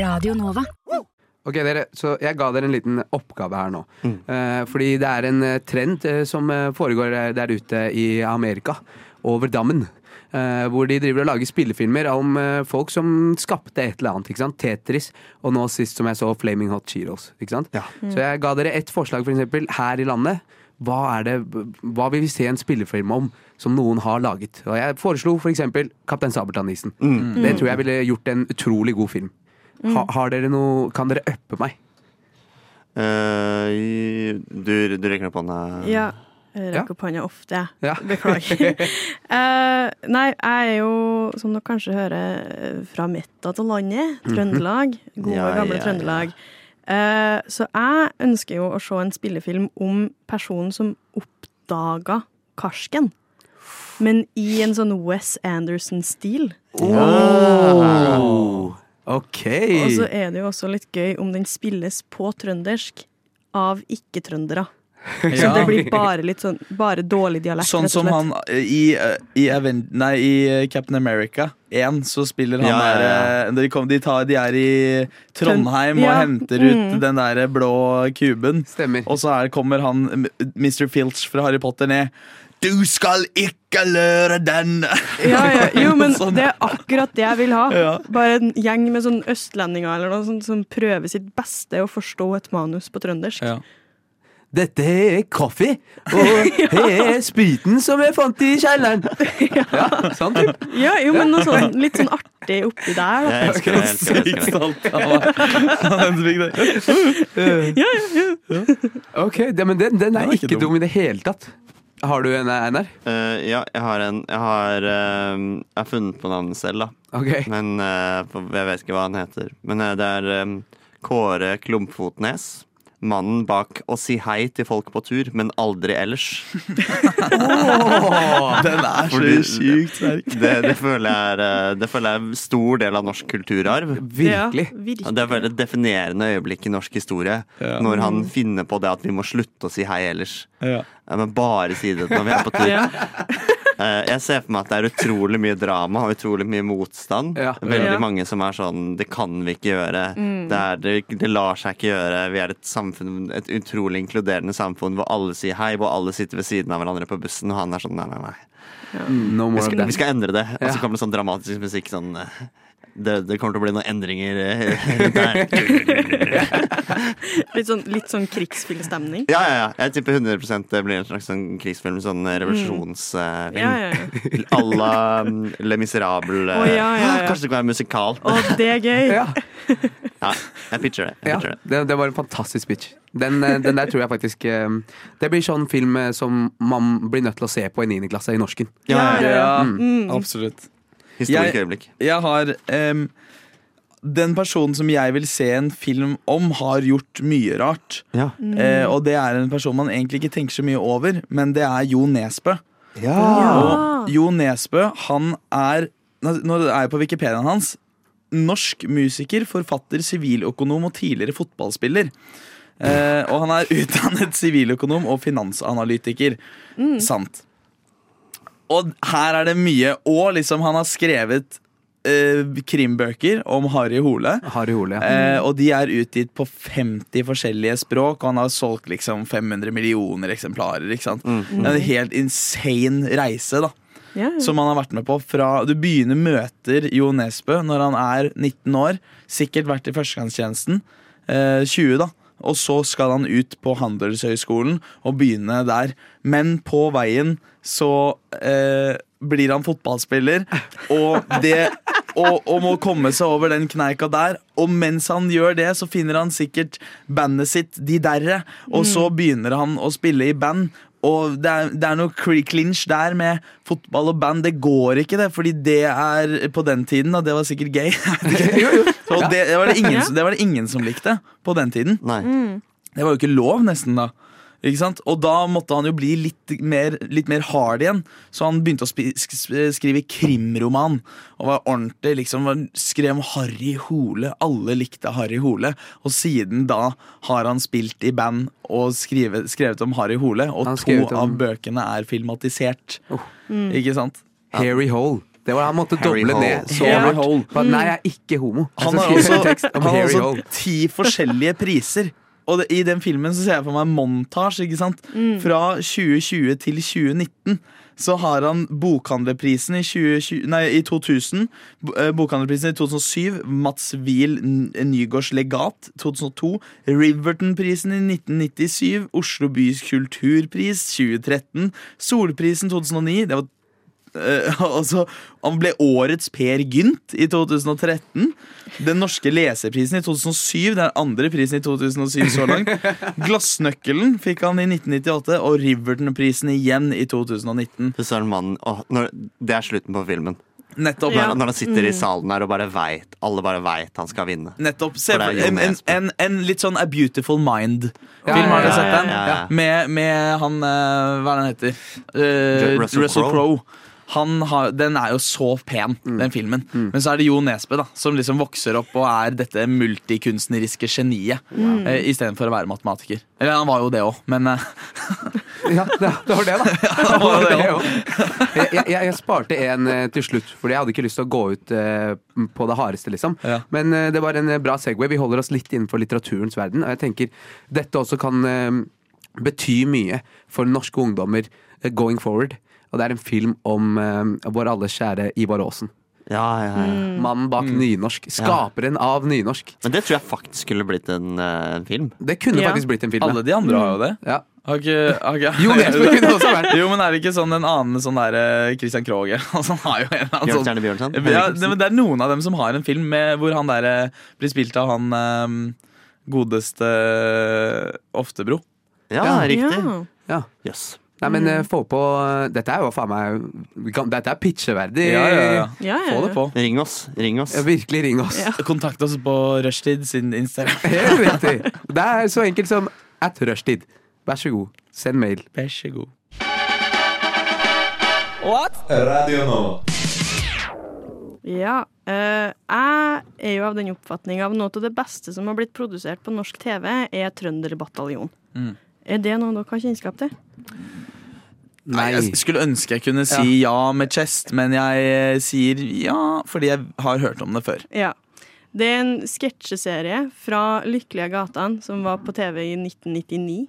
Radio Nova. Ok, dere, så Jeg ga dere en liten oppgave her nå. Eh, fordi det er en eh, trend eh, som eh, foregår eh, der ute i Amerika, over dammen. eh, hvor de driver og lager spillefilmer om eh, folk som skapte et eller annet. ikke sant? Tetris, og nå sist som jeg så Flaming Hot Cheetos. ikke sant? Mm. Så jeg ga dere ett forslag, for eksempel, her i landet. Hva, er det, hva vil vi se en spillefilm om som noen har laget? Og jeg foreslo for eksempel Kaptein Sabeltann-isen. Det tror jeg ville gjort en utrolig god film. Ha, har dere noe Kan dere uppe meg? Eh, du, du rekker opp hånda. Ja. Jeg Ja. rakk opp hånda ofte, jeg. Ja. Beklager. Eh, nei, jeg er jo, som dere kanskje hører, fra metta til landet. Trøndelag. Gode, Ja, gamle ja, ja. Trøndelag. Eh, så jeg ønsker jo å se en spillefilm om personen som oppdaga karsken. Men i en sånn Wes Anderson-stil. OK! Og så er det jo også litt gøy om den spilles på trøndersk av ikke-trøndere. Så det Ja. blir bare litt sånn Bare dårlig dialekt. Sånn rett og som slett. han eh, i, eh, i, Aven nei, i eh, Captain America 1, så spiller han Ja, ja, ja. der eh, de, kom, de, tar, de er i Trondheim og Ja, henter ut mm. den der blå kuben. Stemmer. Og så er, kommer han m- Mr. Filch fra Harry Potter ned. Du skal ikke løre den! Ja, ja. Jo, men Sånn. det er akkurat det jeg vil ha. Ja. Bare en gjeng med sånn østlendinger eller noe sånt som prøver sitt beste å forstå et manus på trøndersk. Ja. Dette er kaffe, og det er spriten som jeg fant i kjelleren. Ja, sant? Ja, jo, men noe sånn, litt sånn artig oppi der. Da. Jeg elsker det. Jeg elsker det, jeg elsker det. Stolt av meg. Han fikk det. Ok, det, men den, den Den er var ikke ikke dum. dum i det hele tatt. Har du en, Einar? Eh, ja, jeg har en Jeg har, eh, jeg har funnet på navnet selv, da. Ok. Men eh, for- jeg vet ikke hva han heter. Men eh, det er eh, Kåre Klumpfotnes. Mannen bak å si hei til folk på tur, men aldri ellers. Den er så Fordi- sjukt sterk. Det, det, føler jeg er, eh, det føler jeg er en stor del av norsk kulturarv. Virkelig. Ja, virkelig. Og Det er veldig et definerende øyeblikk i norsk historie Ja. når han finner på det at vi må slutte å si hei ellers. Ja. Ja, men bare si det når vi er på tur. Eh, Jeg ser for meg at det er utrolig mye drama og utrolig mye motstand. Ja. Veldig Ja. mange som er sånn 'det kan vi ikke gjøre', det, er, det, 'det lar seg ikke gjøre', vi er et samfunn, et utrolig inkluderende samfunn hvor alle sier hei, hvor alle sitter ved siden av hverandre på bussen, og han er sånn 'nei, nei, nei'. No Vi more of skal, vi that. skal endre det. Og Ja. så kommer det sånn dramatisk musikk sånn eh, det, det kommer til å bli noen endringer eh, der. Litt sånn, litt sånn krigsfilmstemning. Ja, ja, ja. Jeg tipper 100 det blir en slags sånn krigsfilm. Sånn revolusjonsfilm. Ja, ja, ja. À la mm, Le Miserable. eh. Ah, Å, ja, ja, ja. Kanskje det kan være musikal. Og det er gøy. Ja. Ja, jeg pitcher det. Jeg Ja, pitcher det. det, det var en fantastisk pitch. Den, eh, den der tror jeg faktisk eh, Det blir sånn film eh, som man blir nødt til å se på i 9. klasse i norsken. Ja, ja, ja. Mm. absolutt. Historisk Jeg- øyeblikk. Jeg har em, Den personen som jeg vil se en film om, har gjort mye rart. Ja. Eh, og det er en person man egentlig ikke tenker så mye over, men det er Jo Nesbø. Og Jo Nesbø, han er Nå nå er jeg på Wikipediaen hans. Norsk musiker, forfatter, siviløkonom og tidligere fotballspiller. Eh, og han er utdannet siviløkonom og finansanalytiker. Sant. Og her er det mye. Og liksom, han har skrevet eh, krimbøker om Harry Hole. Harry Hole. ja. Eh, og de er utgitt på 50 forskjellige språk, og han har solgt liksom 500 millioner eksemplarer. Ikke sant? Det er en helt insane reise da, Ja, ja. som han har vært med på. Fra, du begynner møter Jo Nesbø når han er 19 år, sikkert vært i førstegangstjenesten, eh, 20 da. Og så skal han ut på Handelshøyskolen og begynne der. Men på veien så eh, blir han fotballspiller, og det og, og må komme seg over den kneika der. Og mens han gjør det, så finner han sikkert bandet sitt De Derre. Og så begynner han å spille i band. Og det er, det er noe cl- clinch der med fotball og band. Det går ikke, det. Fordi det er på den tiden, og det var sikkert gay. Så det, det, var det, ingen, som- det var det ingen som likte på den tiden. Nei. Det var jo ikke lov nesten da ikke sant? Og da måtte han jo bli litt mer, litt mer hard igjen Så han begynte å spi- sk sk- skrive krimroman Og var ordentlig liksom var- Skrev om Harry Hole Alle likte Harry Hole Og siden da har han spilt i band Og skrive, skrevet om Harry Hole Og Han to skrevet om- Mm. av bøkene er filmatisert Oh. Ikke sant? Harry Hole. Det var, han måtte Harry doble Hole. ned så Harry hardt. Hole. For at, Nei, jeg er ikke homo. Jeg Han skal har skrive en også, Altså, tekst om han har Harry også Hole. ti forskjellige priser. Og det, i den filmen så ser jeg for meg en montasje. ikke sant? Fra 2020 til 2019 så har han Bokhandlerprisen i, 2020, nei, i 2000. bo- eh, Bokhandlerprisen i 2007. Mats Wiel N- Nygaards legat 2002. Riverton-prisen i 1997. Oslo bys kulturpris 2013. Solprisen 2009. Det var Eh, altså, han ble årets Per Gynt i 2013. Den norske leserprisen i 2007. Den andre prisen i 2007 så langt. Glassnøkkelen fikk han i 1998, og Riverton-prisen igjen i 2019. Fy søren, mannen. Åh, når, det er slutten på filmen. Nettopp. Ja. Når han sitter i salen her og bare veit alle bare veit han skal vinne. Nettopp. Se For det for er Jon en, en, Espen. en, en litt sånn A Beautiful Mind-film. Ja, Har ja, dere ja, sett den? ja, ja. Med, med han eh, Hva er det han heter? Eh, Ju- Russell Russell, Crowe. Mm. Han har, den er jo så pen, den filmen. Men så er det Jo Nesbø, da, som liksom vokser opp og er dette multikunstneriske geniet. Wow. Eh, Istedenfor å være matematiker. Eller han var jo det òg, men eh, Ja, det, det var det, da. han var jo det også. jeg, jeg, jeg- jeg sparte en eh, til slutt, Fordi jeg hadde ikke lyst til å gå ut eh, på det hardeste. liksom Ja. Men eh, det var en eh, bra Segway. Vi holder oss litt innenfor litteraturens verden. Og jeg tenker dette også kan eh, bety mye for norske ungdommer eh, going forward. Og det er en film om eh, vår alles kjære Ivar Aasen. Ja, ja, ja. Mm. Mannen bak nynorsk. Skaperen av nynorsk. Men det tror jeg faktisk skulle blitt en eh, film. Det kunne Ja. faktisk blitt en film. ja. Alle de andre har jo det. Ja. Mm. Har ikke, har ikke, Jo Nesbø kunne også vært Jo, men er det ikke sånn en annen sånn der eh, Christian Krohge? Han har jo en eller annen sånn Bjørnstjerne Bjørnson. ja, det, men det er noen av dem som har en film med, hvor han der eh, blir spilt av han eh, godeste eh, Oftebro. Ja, riktig. Jøss. Ja. ja. Nei, men eh, få på eh, Dette er jo faen meg kan- Dette er pitcheverdig. Ja, ja, ja. Ja, ja, Eh, Få det ja. på. Ring oss. Ring oss. Ja, virkelig ring oss. Kontakt oss på Rushtid sin Instagram. Helt riktig. Det er så enkelt som at rushtid. Vær så god, send mail. Vær så god. Ja, eh, jeg er jo av den oppfatning av noe av det beste som har blitt produsert på norsk TV, er Trønderbataljon. Mm. Er det noe dere har kjennskap til? Nei. Jeg skulle ønske jeg kunne si ja, med chest, men jeg eh, sier ja fordi jeg har hørt om det før. Ja. Det er en sketsjeserie fra Lykkelige gatan som var på TV i 1999,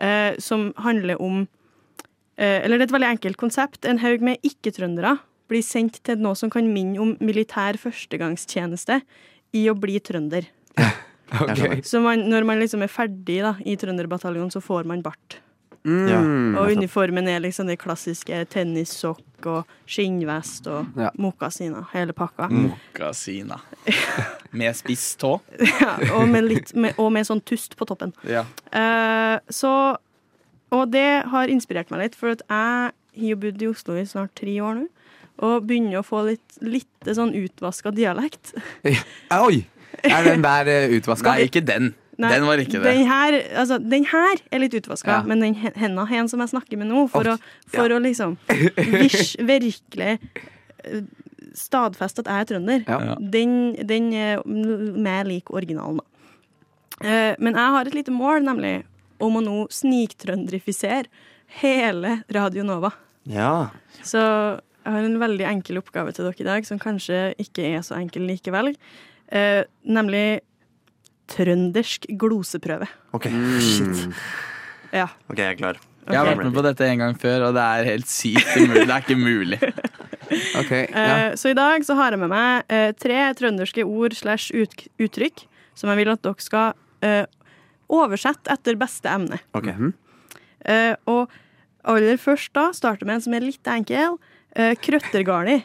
eh, som handler om eh, Eller det er et veldig enkelt konsept. En haug med ikke-trøndere blir sendt til noe som kan minne om militær førstegangstjeneste i å bli trønder. Ok. Så man, når man liksom er ferdig da, i Trønderbataljonen, så får man bart. Mm. Ja. Og uniformen er liksom det klassiske tennissokk strikk og skinnvest og Ja. Mm. mokasiner. Hele pakka. Mokasina. Med spiss tå. Ja, og, med litt, med, og med sånn tust på toppen. Ja. Eh, så Og det har inspirert meg litt, for at jeg har jo bodd i Oslo i snart tre år nå. Og begynner å få litt, litt sånn utvaska dialekt. Oi! Er den der uh, utvaska? Nei, ikke den. Nei, den var ikke det. Den her, altså, den her er litt utvaska, Ja. men den he- henda hen som jeg snakker med nå, for, Ok, å, for å liksom virs, virkelig eh, stadfeste at jeg er trønder, Ja. Ja. den, den eh, er m- mer lik originalen, da. Eh, Men jeg har et lite mål, nemlig, om å nå sniktrøndrifisere hele Radio Nova. Ja. Så jeg har en veldig enkel oppgave til dere i dag, som kanskje ikke er så enkel likevel. Eh, nemlig trøndersk gloseprøve. OK, shit. Ja. Ok, jeg er klar. Jeg har vært med på dette en gang før, og det er helt sykt umulig. Det er ikke mulig. Ok, ja. Eh, Så i dag så har jeg med meg eh, tre trønderske ord slash ut- uttrykk som jeg vil at dere skal eh, oversette etter beste emne. Ok. hm. Eh, og aller først da starter med en som er litt enkel. Eh, krøttergarni.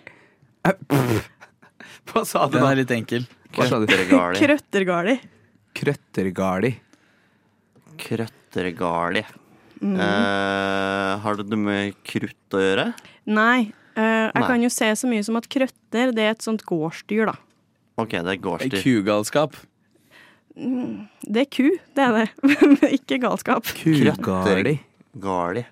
Hva sa du Den da? er litt enkel. Hva sa du? Krøttergali. Krøttergarni. Krøttergarli. Krøttergali. Mm. Eh, har det noe med krutt å gjøre? Nei. eh, jeg Nei. kan jo se så mye som at krøtter det er et sånt gårdsdyr, da. OK, det er gårdsdyr. Kugalskap. Det er ku, det er det. Ikke galskap. Kugarli. Gali.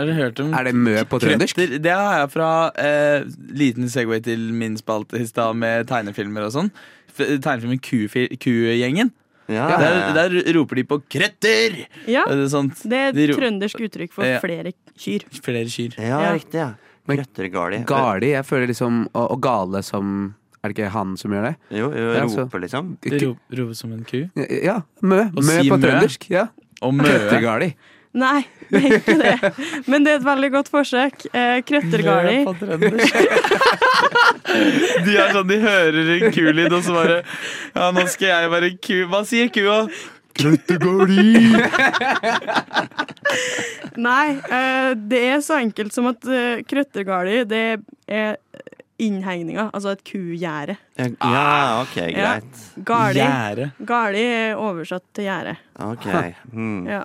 Har dere hørt om Er det mø på trøndersk? Krøtter, det har jeg fra eh, liten segway til min spalte i stad med tegnefilmer og sånn. F- Tegnefilmen Kufi- Kugjengen. Ja, Der, der roper de på 'krøtter'! Ja, Er det sånt? det er de et ro- trøndersk uttrykk for Ja. flere kyr. Flere kyr. ja, Ja. riktig. ja. Men- Krøttergali. Garli, jeg føler liksom Og, og gale som Er det ikke han som gjør det? Jo, jo Ja, så- roper, liksom. Det ro- roper som en ku. Ja, mø. Å Mø si på mø. trøndersk. Ja. Og møe. Krøttergarli. Nei, det er ikke det. Men det er et veldig godt forsøk. Eh, Krøttergarli. Mø på trøndersk. De er sånn, de hører en kulyd, og så bare Ja, nå skal jeg være ku. Hva sier kua? Nei, eh, det er så enkelt som at eh, krøttergarli, det er innhegninga, altså et kugjerde. Ja, Ja, OK, Ja. greit. Garli, Gjerde. garli er oversatt til gjerde. OK. Hmm. Ja.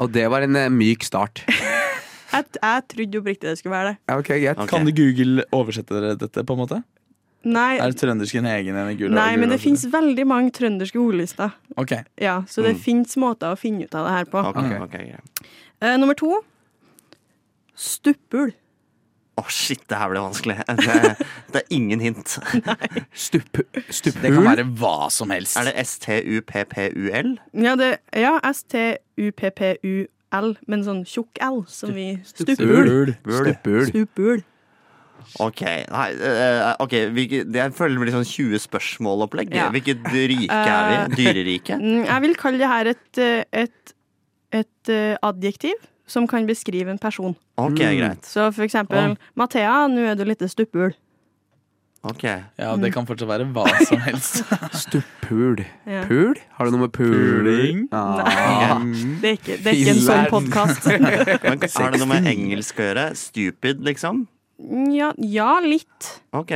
Og det var en eh, myk start. Jeg, jeg trodde oppriktig det skulle være det. Ja, Ok, greit. Ok. Kan du Google oversette dere dette, på en måte? Nei, Er trøndersk en egen en? Google- nei men Google- det fins veldig mange trønderske ordlister. Ok. Ja, så det fins måter å finne ut av det her på. OK, Ok. ok, greit. Eh, nummer to. Stuppul. Å, shit, det her ble vanskelig. Det, det er ingen hint. Stup, Det kan stupul. være hva som helst. Er det STUPPUL? Ja, det, ja S-T-U-P-P-U-L, men sånn tjukk L, som vi Stupul. Stuppul. Stupul. Stuppul. OK. Nei, eh, ok, hvilke, det følger med litt sånn 20 spørsmål-opplegg. Ja. Hvilket rike er vi? Dyrerike? Mm, Jeg vil kalle det her et, eh, et, et eh, adjektiv som kan beskrive en person. OK, greit. Så for eksempel Mathea, nå er du litt stuppul. Ok. Ja, Mm. det kan fortsatt være hva som helst. Stupul. Ja. Pul? Har du noe med puling? Puling? Ah. Det er ikke, det er ikke en sånn Filleren. podkast. Men Har det noe med engelsk å gjøre? Stupid, liksom? Ja, ja, litt. OK.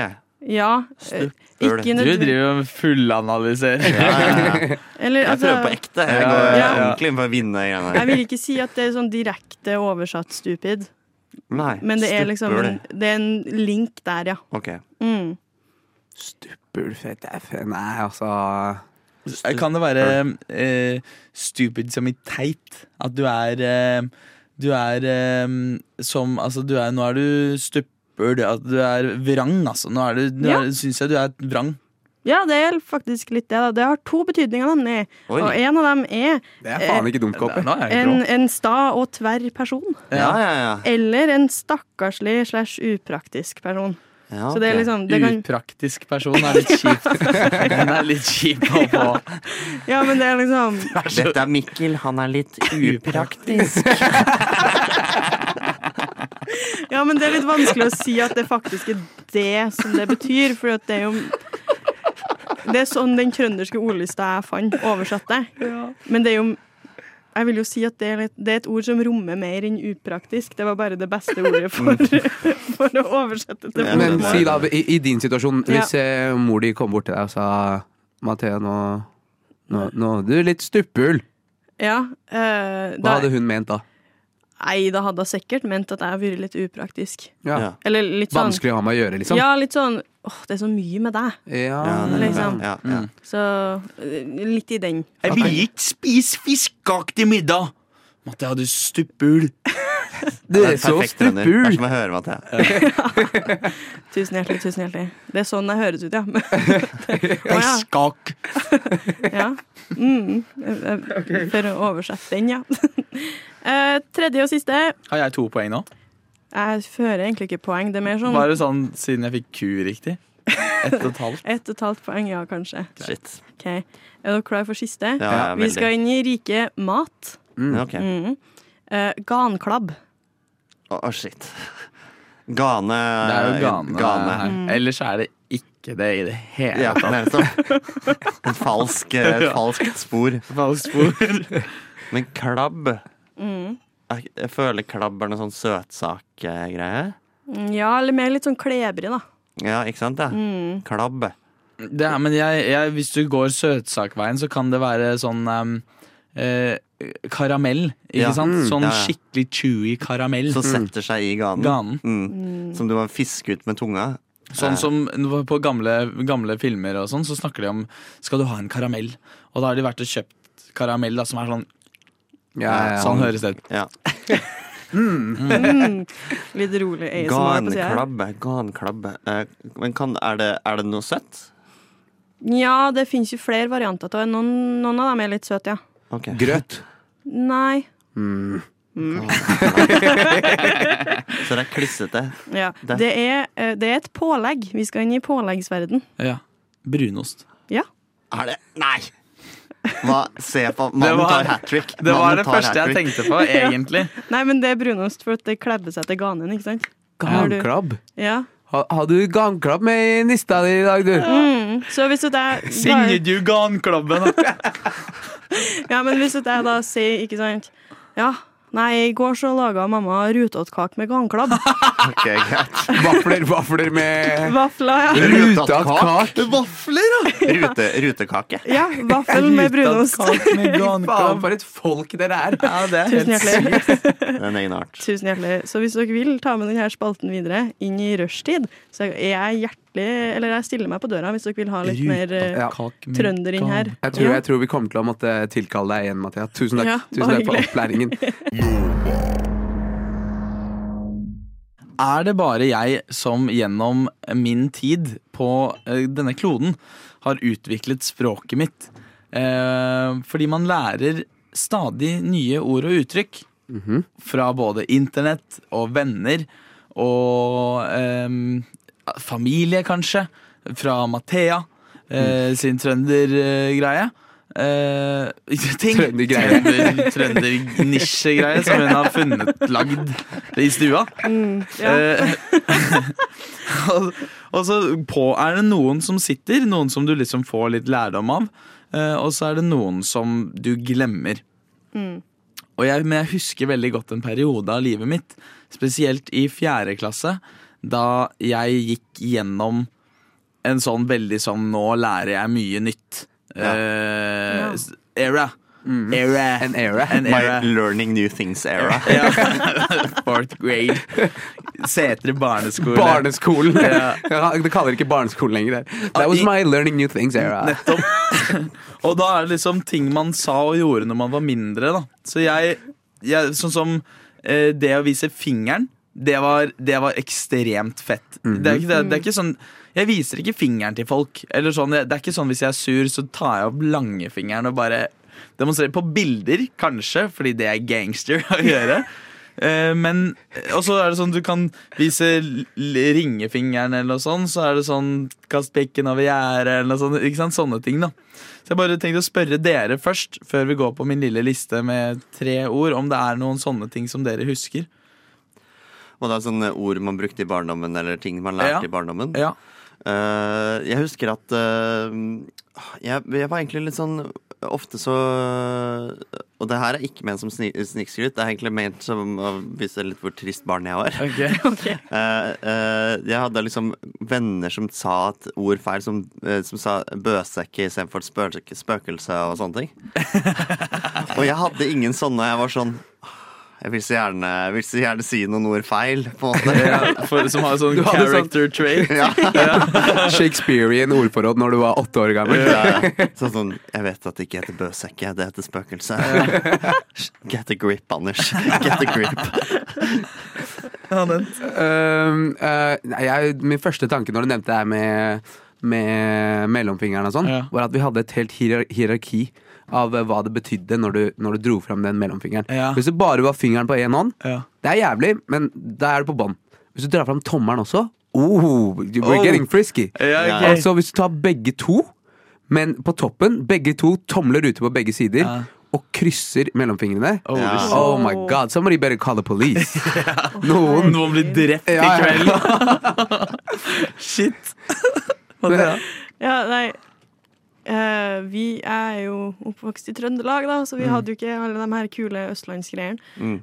Ja. eh, Stuppul. Ikke Du nødvendig. driver og fullanalysere. Ja, ja, ja. Eller, Jeg prøver på altså, ekte. Jeg går Ja, ja, ja. ordentlig inn for å vinne. i den her. jeg vil ikke si at det er sånn direkte oversatt stupid, Nei, men det er liksom stupul. en, det er en link der, ja. Ok. Mm. Stupul fett, det er fe- Nei, altså Kan det være eh, stupid som i teit? At du er eh, Du er eh, som Altså, du er, nå er du stupper. At du er vrang, altså. Nå er du, nå Ja. er- syns jeg du er vrang. Ja, det er faktisk litt det. da. Det har to betydninger, nemlig. Oi. Og en av dem er eh, Det er faen ikke dumt, Kåpe. Nå er jeg grå. en, en sta og tverr person. Ja, ja, ja. Eller en stakkarslig slash upraktisk person. ja Så det er ok. liksom det kan, Upraktisk person er litt kjipt. Den er litt kjip å få. Ja, men det er liksom Dette er Mikkel, han er litt upraktisk. Ja, men det er litt vanskelig å si at det faktisk er det som det betyr, for at det er jo Det er sånn den trønderske ordlista jeg fant, oversatte. Men det er jo Jeg vil jo si at det er, litt, det er et ord som rommer mer enn upraktisk. Det var bare det beste ordet for, for å oversette til Ja, på men den Eh, Men det- si da, i, i din situasjon, Ja. hvis eh, mor di kom bort til deg og sa Mathea, nå, nå, nå Du er litt stupphull. Ja, eh, Hva da, hadde hun ment da? nei, da hadde jeg sikkert ment at jeg har vært litt upraktisk. Ja. Ja. Eller litt sånn Vanskelig å ha med å gjøre, liksom? Ja, litt sånn Åh, det er så mye med deg. Ja. Ja, det, Liksom. ja, ja. Så eh, litt i den. Jeg vil ikke spise fiskak til middag! Mathea, du stuppul. Det Det er så perfekt, Rønner. Det er stupphull! som å høre Mathea. Tusen hjertelig, tusen hjertelig. Det er sånn jeg høres ut, ja. Å, ja. Fiskak. ja. Mm. Eh, eh, For å oversette den, ja. Eh, Tredje og siste. Har jeg to poeng nå? Jeg fører egentlig ikke poeng. Det er mer sånn Bare sånn siden jeg fikk Q riktig. Ett og et halvt. ett og et halvt poeng, ja, kanskje. Shit. Ok, Er dere klare for siste? Ja, ja, Vi skal inn i rike mat. veldig. Ok. Mm. Eh, ganklabb. Å, å, shit. Gane Det er jo Gane. Gane. her. Ellers er det ikke det i det hele Ja, nettopp. En falsk, et falskt spor. Falskt spor. Men klabb Jeg jeg føler klabb er noe sånn søtsakgreie. Mm, Ja, eller mer litt sånn klebrig, da. Ja, ikke sant? Ja. Klabb. Det er, men jeg, jeg, hvis du går søtsakveien, så kan det være sånn em, eh, karamell. Ikke Ja. sant? Sånn Ja, ja. skikkelig chewy karamell. Som setter seg i ganen. Ganen. Mm. Som du må fiske ut med tunga. Sånn som på gamle, gamle filmer og sånn, så snakker de om Skal du ha en karamell? Og da har de vært og kjøpt karamell da, som er sånn Ja, ja, Sånn ja. høres det ut. Ja. Mm. Litt rolig ASMR på sida. Ganklabb. Ganklabb. Eh, Men kan, er, det, er det noe søtt? Ja, det fins jo flere varianter av det. Noen, noen av dem er litt søte, ja. Ok. Grøt. Nei. Så det er klissete. Ja. Det- Det, er, eh, det er et pålegg. Vi skal inn i påleggsverden. Ja. Brunost. Ja. Er det Nei! Hva? Se på Mannen var- tar hat trick. Det var det første jeg tenkte på, egentlig. Nei, men det er brunost for at det klebber seg til ganen, ikke sant? Har du- Ganklabb. Ja. Ha- Har du ganklabb med i nista di i dag, du? Mm. Så hvis at jeg Singer du ganklabben? Ja, men hvis at jeg da sier, ikke sant Ja, nei, i går så laga mamma rutåtkake med gangklabb. greit. Vafler, vafler med Vafler, ja. ruta kak. Vafler, da! Rute, rutekake. Ja, vaffel med brunost. Faen, Faen, for et folk dere er! Ja, det er Tusen helt sykt. hjertelig. Det er en egen art. Tusen hjertelig. Så hvis dere vil ta med denne spalten videre inn i rushtid, så er jeg hjertelig Eller jeg stiller meg på døra hvis dere vil ha litt mer eh, Ja. Kake med trønder inn her. gan- Jeg tror, jeg tror vi kommer til å måtte tilkalle deg igjen, Mathea. Tusen takk, Ja, Tusen bare takk for hyggelig. opplæringen. Er det bare jeg som gjennom min tid på eh, denne kloden har utviklet språket mitt? Eh, fordi man lærer stadig nye ord og uttrykk fra både internett og venner og em, familie, kanskje. Fra Mathea eh, sin trøndergreie. Uh, ting. Trøndergreie. Trønder- Trøndernisjegreie som hun har funnet lagd i stua. Ja. Eh, og, og så på, er det noen som sitter, noen som du liksom får litt lærdom av, eh, og så er det noen som du glemmer. Og jeg, men jeg husker veldig godt en periode av livet mitt, spesielt i fjerde klasse, da jeg gikk gjennom en sånn veldig sånn nå lærer jeg mye nytt. eh, Ja. s- Era. Era. En era. En My era. learning new things era. Ja. Fourth grade. Setre barneskole. Barneskolen! Ja. Ja, det kaller ikke barneskolen lenger. der. Ja, That was i- my learning new things era. Nettopp. Og da er det liksom ting man sa og gjorde når man var mindre. Da. Så jeg, jeg Sånn som eh, det å vise fingeren, det var, det var ekstremt fett. det, er ikke, det, det er ikke sånn Jeg viser ikke fingeren til folk. Eller sånn, det, det er ikke sånn hvis jeg er sur, så tar jeg opp langfingeren og bare demonstrerer. På bilder, kanskje, fordi det er gangster å gjøre. Eh, Men, og så er det sånn du kan vise l- ringefingeren eller noe sånn, så er det sånn kast pikken over gjerdet eller noe sånt. Ikke sant? Sånne ting, da. Så jeg bare tenkte å spørre dere først, før vi går på min lille liste med tre ord, om det er noen sånne ting som dere husker. Og det er sånne ord man brukte i barndommen, eller ting man Ja. lærte i barndommen. Ja. Eh, jeg husker at eh, jeg, jeg var egentlig litt sånn ofte så Og det her er ikke ment som sni- snikskryt, det er egentlig ment som å vise litt hvor trist barn jeg var. Ok. Eh, eh, jeg hadde liksom venner som sa et ord feil, som, eh, som sa bøsekke istedenfor spøke, spøkelse og sånne ting. og jeg hadde ingen sånne. Jeg var sånn Jeg vil så gjerne, jeg vil så gjerne si noen ord feil, på en måte. For, som har sånn Du hadde sånn- character trait. Shakespearean ordforråd når du var åtte år gammel. Sånn, sånn, jeg vet at det ikke heter bøsekke, det heter spøkelse. Get a grip, Anders. Get a grip. Øhm, øh, nei, jeg, min første tanke når du nevnte det her med, med mellomfingeren og sånn, Ja. var at vi hadde et helt hierar hierarki av eh, hva det betydde når du, når du dro fram den mellomfingeren. Ja. Hvis det bare var fingeren på én hånd, Ja. det er jævlig, men da er det på bånn. Hvis du drar fram tommelen også, oh, we're Oh. getting frisky. Ja, ok. Altså hvis du tar begge to, men på toppen, begge to tomler ute på begge sider, Ja. og krysser mellomfingrene. Holy Ja. shit. Oh my god, somebody better call the police. Noen Noen blir drept i Ja, ja. kveld. Shit. Hva er det? da? Ja, nei eh, Vi er jo oppvokst i Trøndelag, da, så vi Mm. hadde jo ikke alle de her kule østlandsgreiene.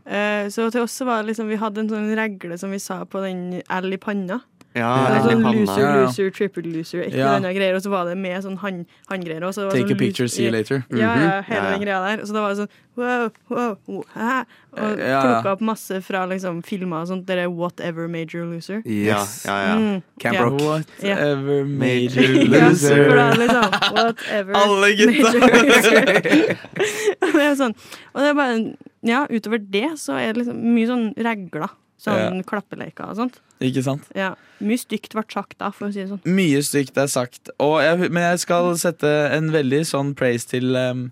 Eh, så til oss så var det liksom Vi hadde en sånn regle som vi sa på den L i panna. Ja, Det var eller sånn panna. loser, Ja, ja. loser, triple loser, ikke Ja. denne greier. Og så var det med sånn hand- handgreier. og så var det sånn Take a picture, lus- see you later. Mm-hmm. Ja, ja, hele Ja, ja. den greia der. Så da var det sånn wow, wow, wow, hæ? Og Ja, ja. plukka opp masse fra liksom filmer og sånt. Det er whatever major loser. Yes. Ja, ja, ja. Mm, Camp ja. Rock. Whatever made Major you Ja, lose. loser. for da er det liksom, whatever Alle gutta. major loser. det er sånn. Og det er bare, ja, utover det så er det liksom mye sånn regler. Sånn klappeleker og sånt. Ikke sant? Ja. Mye stygt ble sagt da, for å si det sånn. Mye stygt er sagt. Og jeg, men jeg skal sette en veldig sånn praise til em,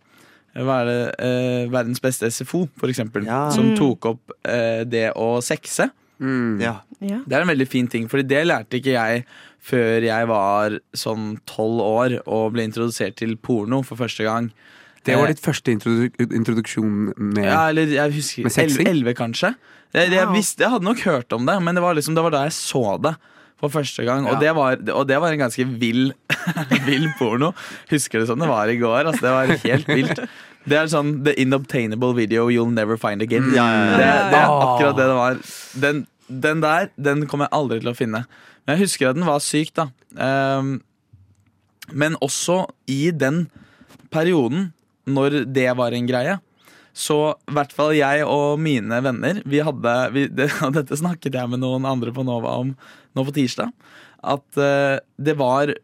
hva er det, eh, verdens beste SFO, for eksempel. Ja. Som Mm. tok opp eh, det å sexe. Mm. ja. Ja. Det er en veldig fin ting, Fordi det lærte ikke jeg før jeg var sånn tolv år og ble introdusert til porno for første gang. Det var Eh, ditt første introdu- introduksjon med Ja, eller jeg husker Med sexing? 11, 11 kanskje. Jeg, jeg, Wow. visste, jeg hadde nok hørt om det, men det var, liksom, det var da jeg så det for første gang. Ja. Og, det var, og det var en ganske vill, vill porno. Husker det som det var i går. Altså, det var helt vilt. Det er sånn The inobtainable video you'll never find again. Mm. Ja, ja, ja. Det, det er Ah. akkurat det det var. Den, den der den kommer jeg aldri til å finne. Men jeg husker at den var syk, da. Ehm, men også i den perioden, når det var en greie, så i hvert fall jeg og mine venner vi hadde, vi, det, og Dette snakket jeg med noen andre på Nova om nå på tirsdag. At eh, det var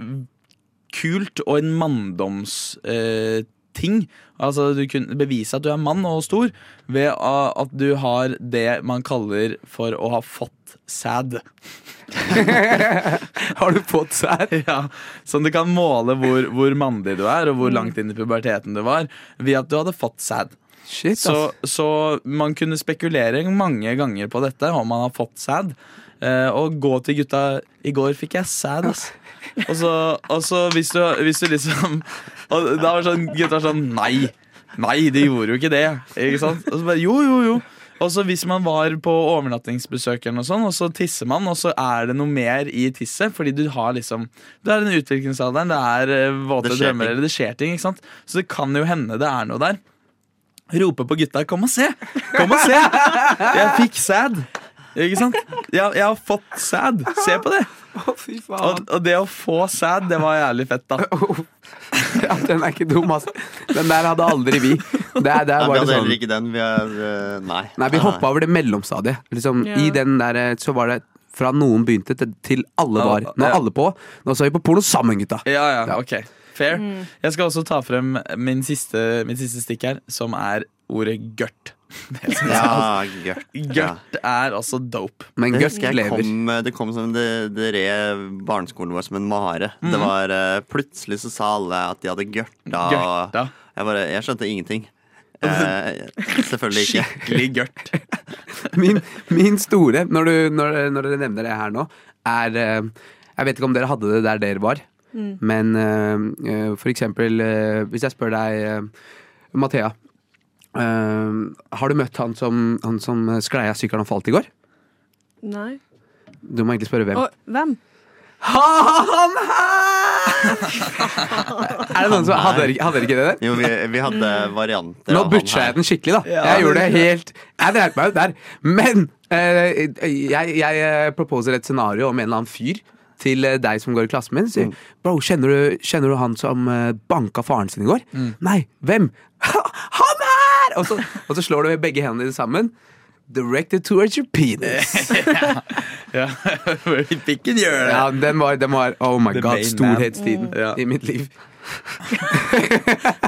kult og en manndomsting. ting altså Du kunne bevise at du er mann og stor ved a- at du har det man kaller for å ha fått sæd. Har du fått sær? Ja, sånn du kan måle hvor, hvor mandig du er, og hvor langt inn i puberteten du var, ved at du hadde fått sæd. Shit, ass. Så, så man kunne spekulere mange ganger på dette, om man har fått sæd. Eh, og gå til gutta I går fikk jeg sæd, ass. Og så, og så hvis, du, hvis du liksom Og da var det sånn, gutta var sånn Nei! Nei, de gjorde jo ikke det. Ikke sant? Og så bare, jo, jo, jo. Og så hvis man var på overnattingsbesøk, eller noe sånt, og så tisser man, og så er det noe mer i tisset, fordi du har liksom Det er den utviklingsalderen, det er eh, våte Det skjer ting. drømmer, eller det skjer ting. ikke sant? Så det kan jo hende det er noe der. Rope på gutta 'kom og se'! Kom og se! Jeg fikk sæd. Ikke sant? Jeg, jeg har fått sæd. Se på det! fy Og, og det å få sæd, det var jævlig fett, da. Ja, den er ikke dum, ass. Den der hadde aldri vi. Der, der Nei, vi var hadde det sånn heller ikke den. Vi er, eh, nei. Nei, vi hoppa over det mellomstadiet. Liksom, Ja. I den der eh, så var det fra noen begynte til, til alle var. Nå Ja. er alle på. Nå så vi på porno sammen, gutta. Ja, ja, Ja. ok. Fair. Jeg skal også ta frem min siste, mitt siste stikk her, som er ordet gørt. Ja, gørt. Ja. Gørt er altså dope. Men Det Gørt husker jeg lever. kom, eh, det kom som det, det rev barneskolen vår som en mare. Mhm. Det var eh, Plutselig så sa alle at de hadde gørta. og Gørta. Jeg, bare, jeg skjønte ingenting. Altså, Eh, selvfølgelig ikke. Skikkelig gørt. Min, min store, når, du, når, når dere nevner det her nå, er eh, Jeg vet ikke om dere hadde det der dere var, men eh, eh, for eksempel eh, Hvis jeg spør deg, eh, Mathea. eh, har du møtt han som, han som sklei av sykkelen og falt i går? Nei. Du må egentlig spørre hvem. Og hvem? Han her! Er det noen som hadde dere ikke- hadde dere ikke det der? Jo, vi, vi hadde varianter. Nå av han butcha her. jeg den skikkelig, da. Ja, jeg gjorde det- det helt Jeg dreit meg ut der. Men eh, jeg, jeg eh, proposer et scenario om en eller annen fyr til eh, deg som går i klassen min. Mm. Sier, Bro, kjenner du, kjenner du han som eh, banka faren sin i går? Mm. Nei, hvem? Han her! Og så, og så slår du begge hendene dine sammen. Directed towards your penis. Ja, Pikken gjør det. Ja, den var, den var oh my The god, main man. storhetstiden Ja. i mitt liv.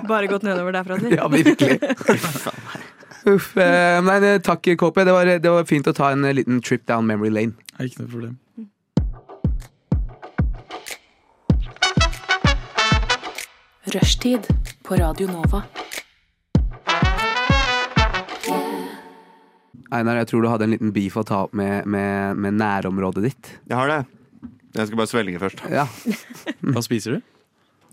Bare gått nedover derfra til. Ja, virkelig. Uff, eh, nei, nei, takk, KP. Det var, det var fint å ta en eh, liten trip down memory lane. Ikke noe problem. Rushtid på Radio Nova. Einar, jeg tror du hadde en liten beef å ta opp med, med, med nærområdet ditt. Jeg har det. Jeg skal bare svelge først. Ja, Hva spiser du?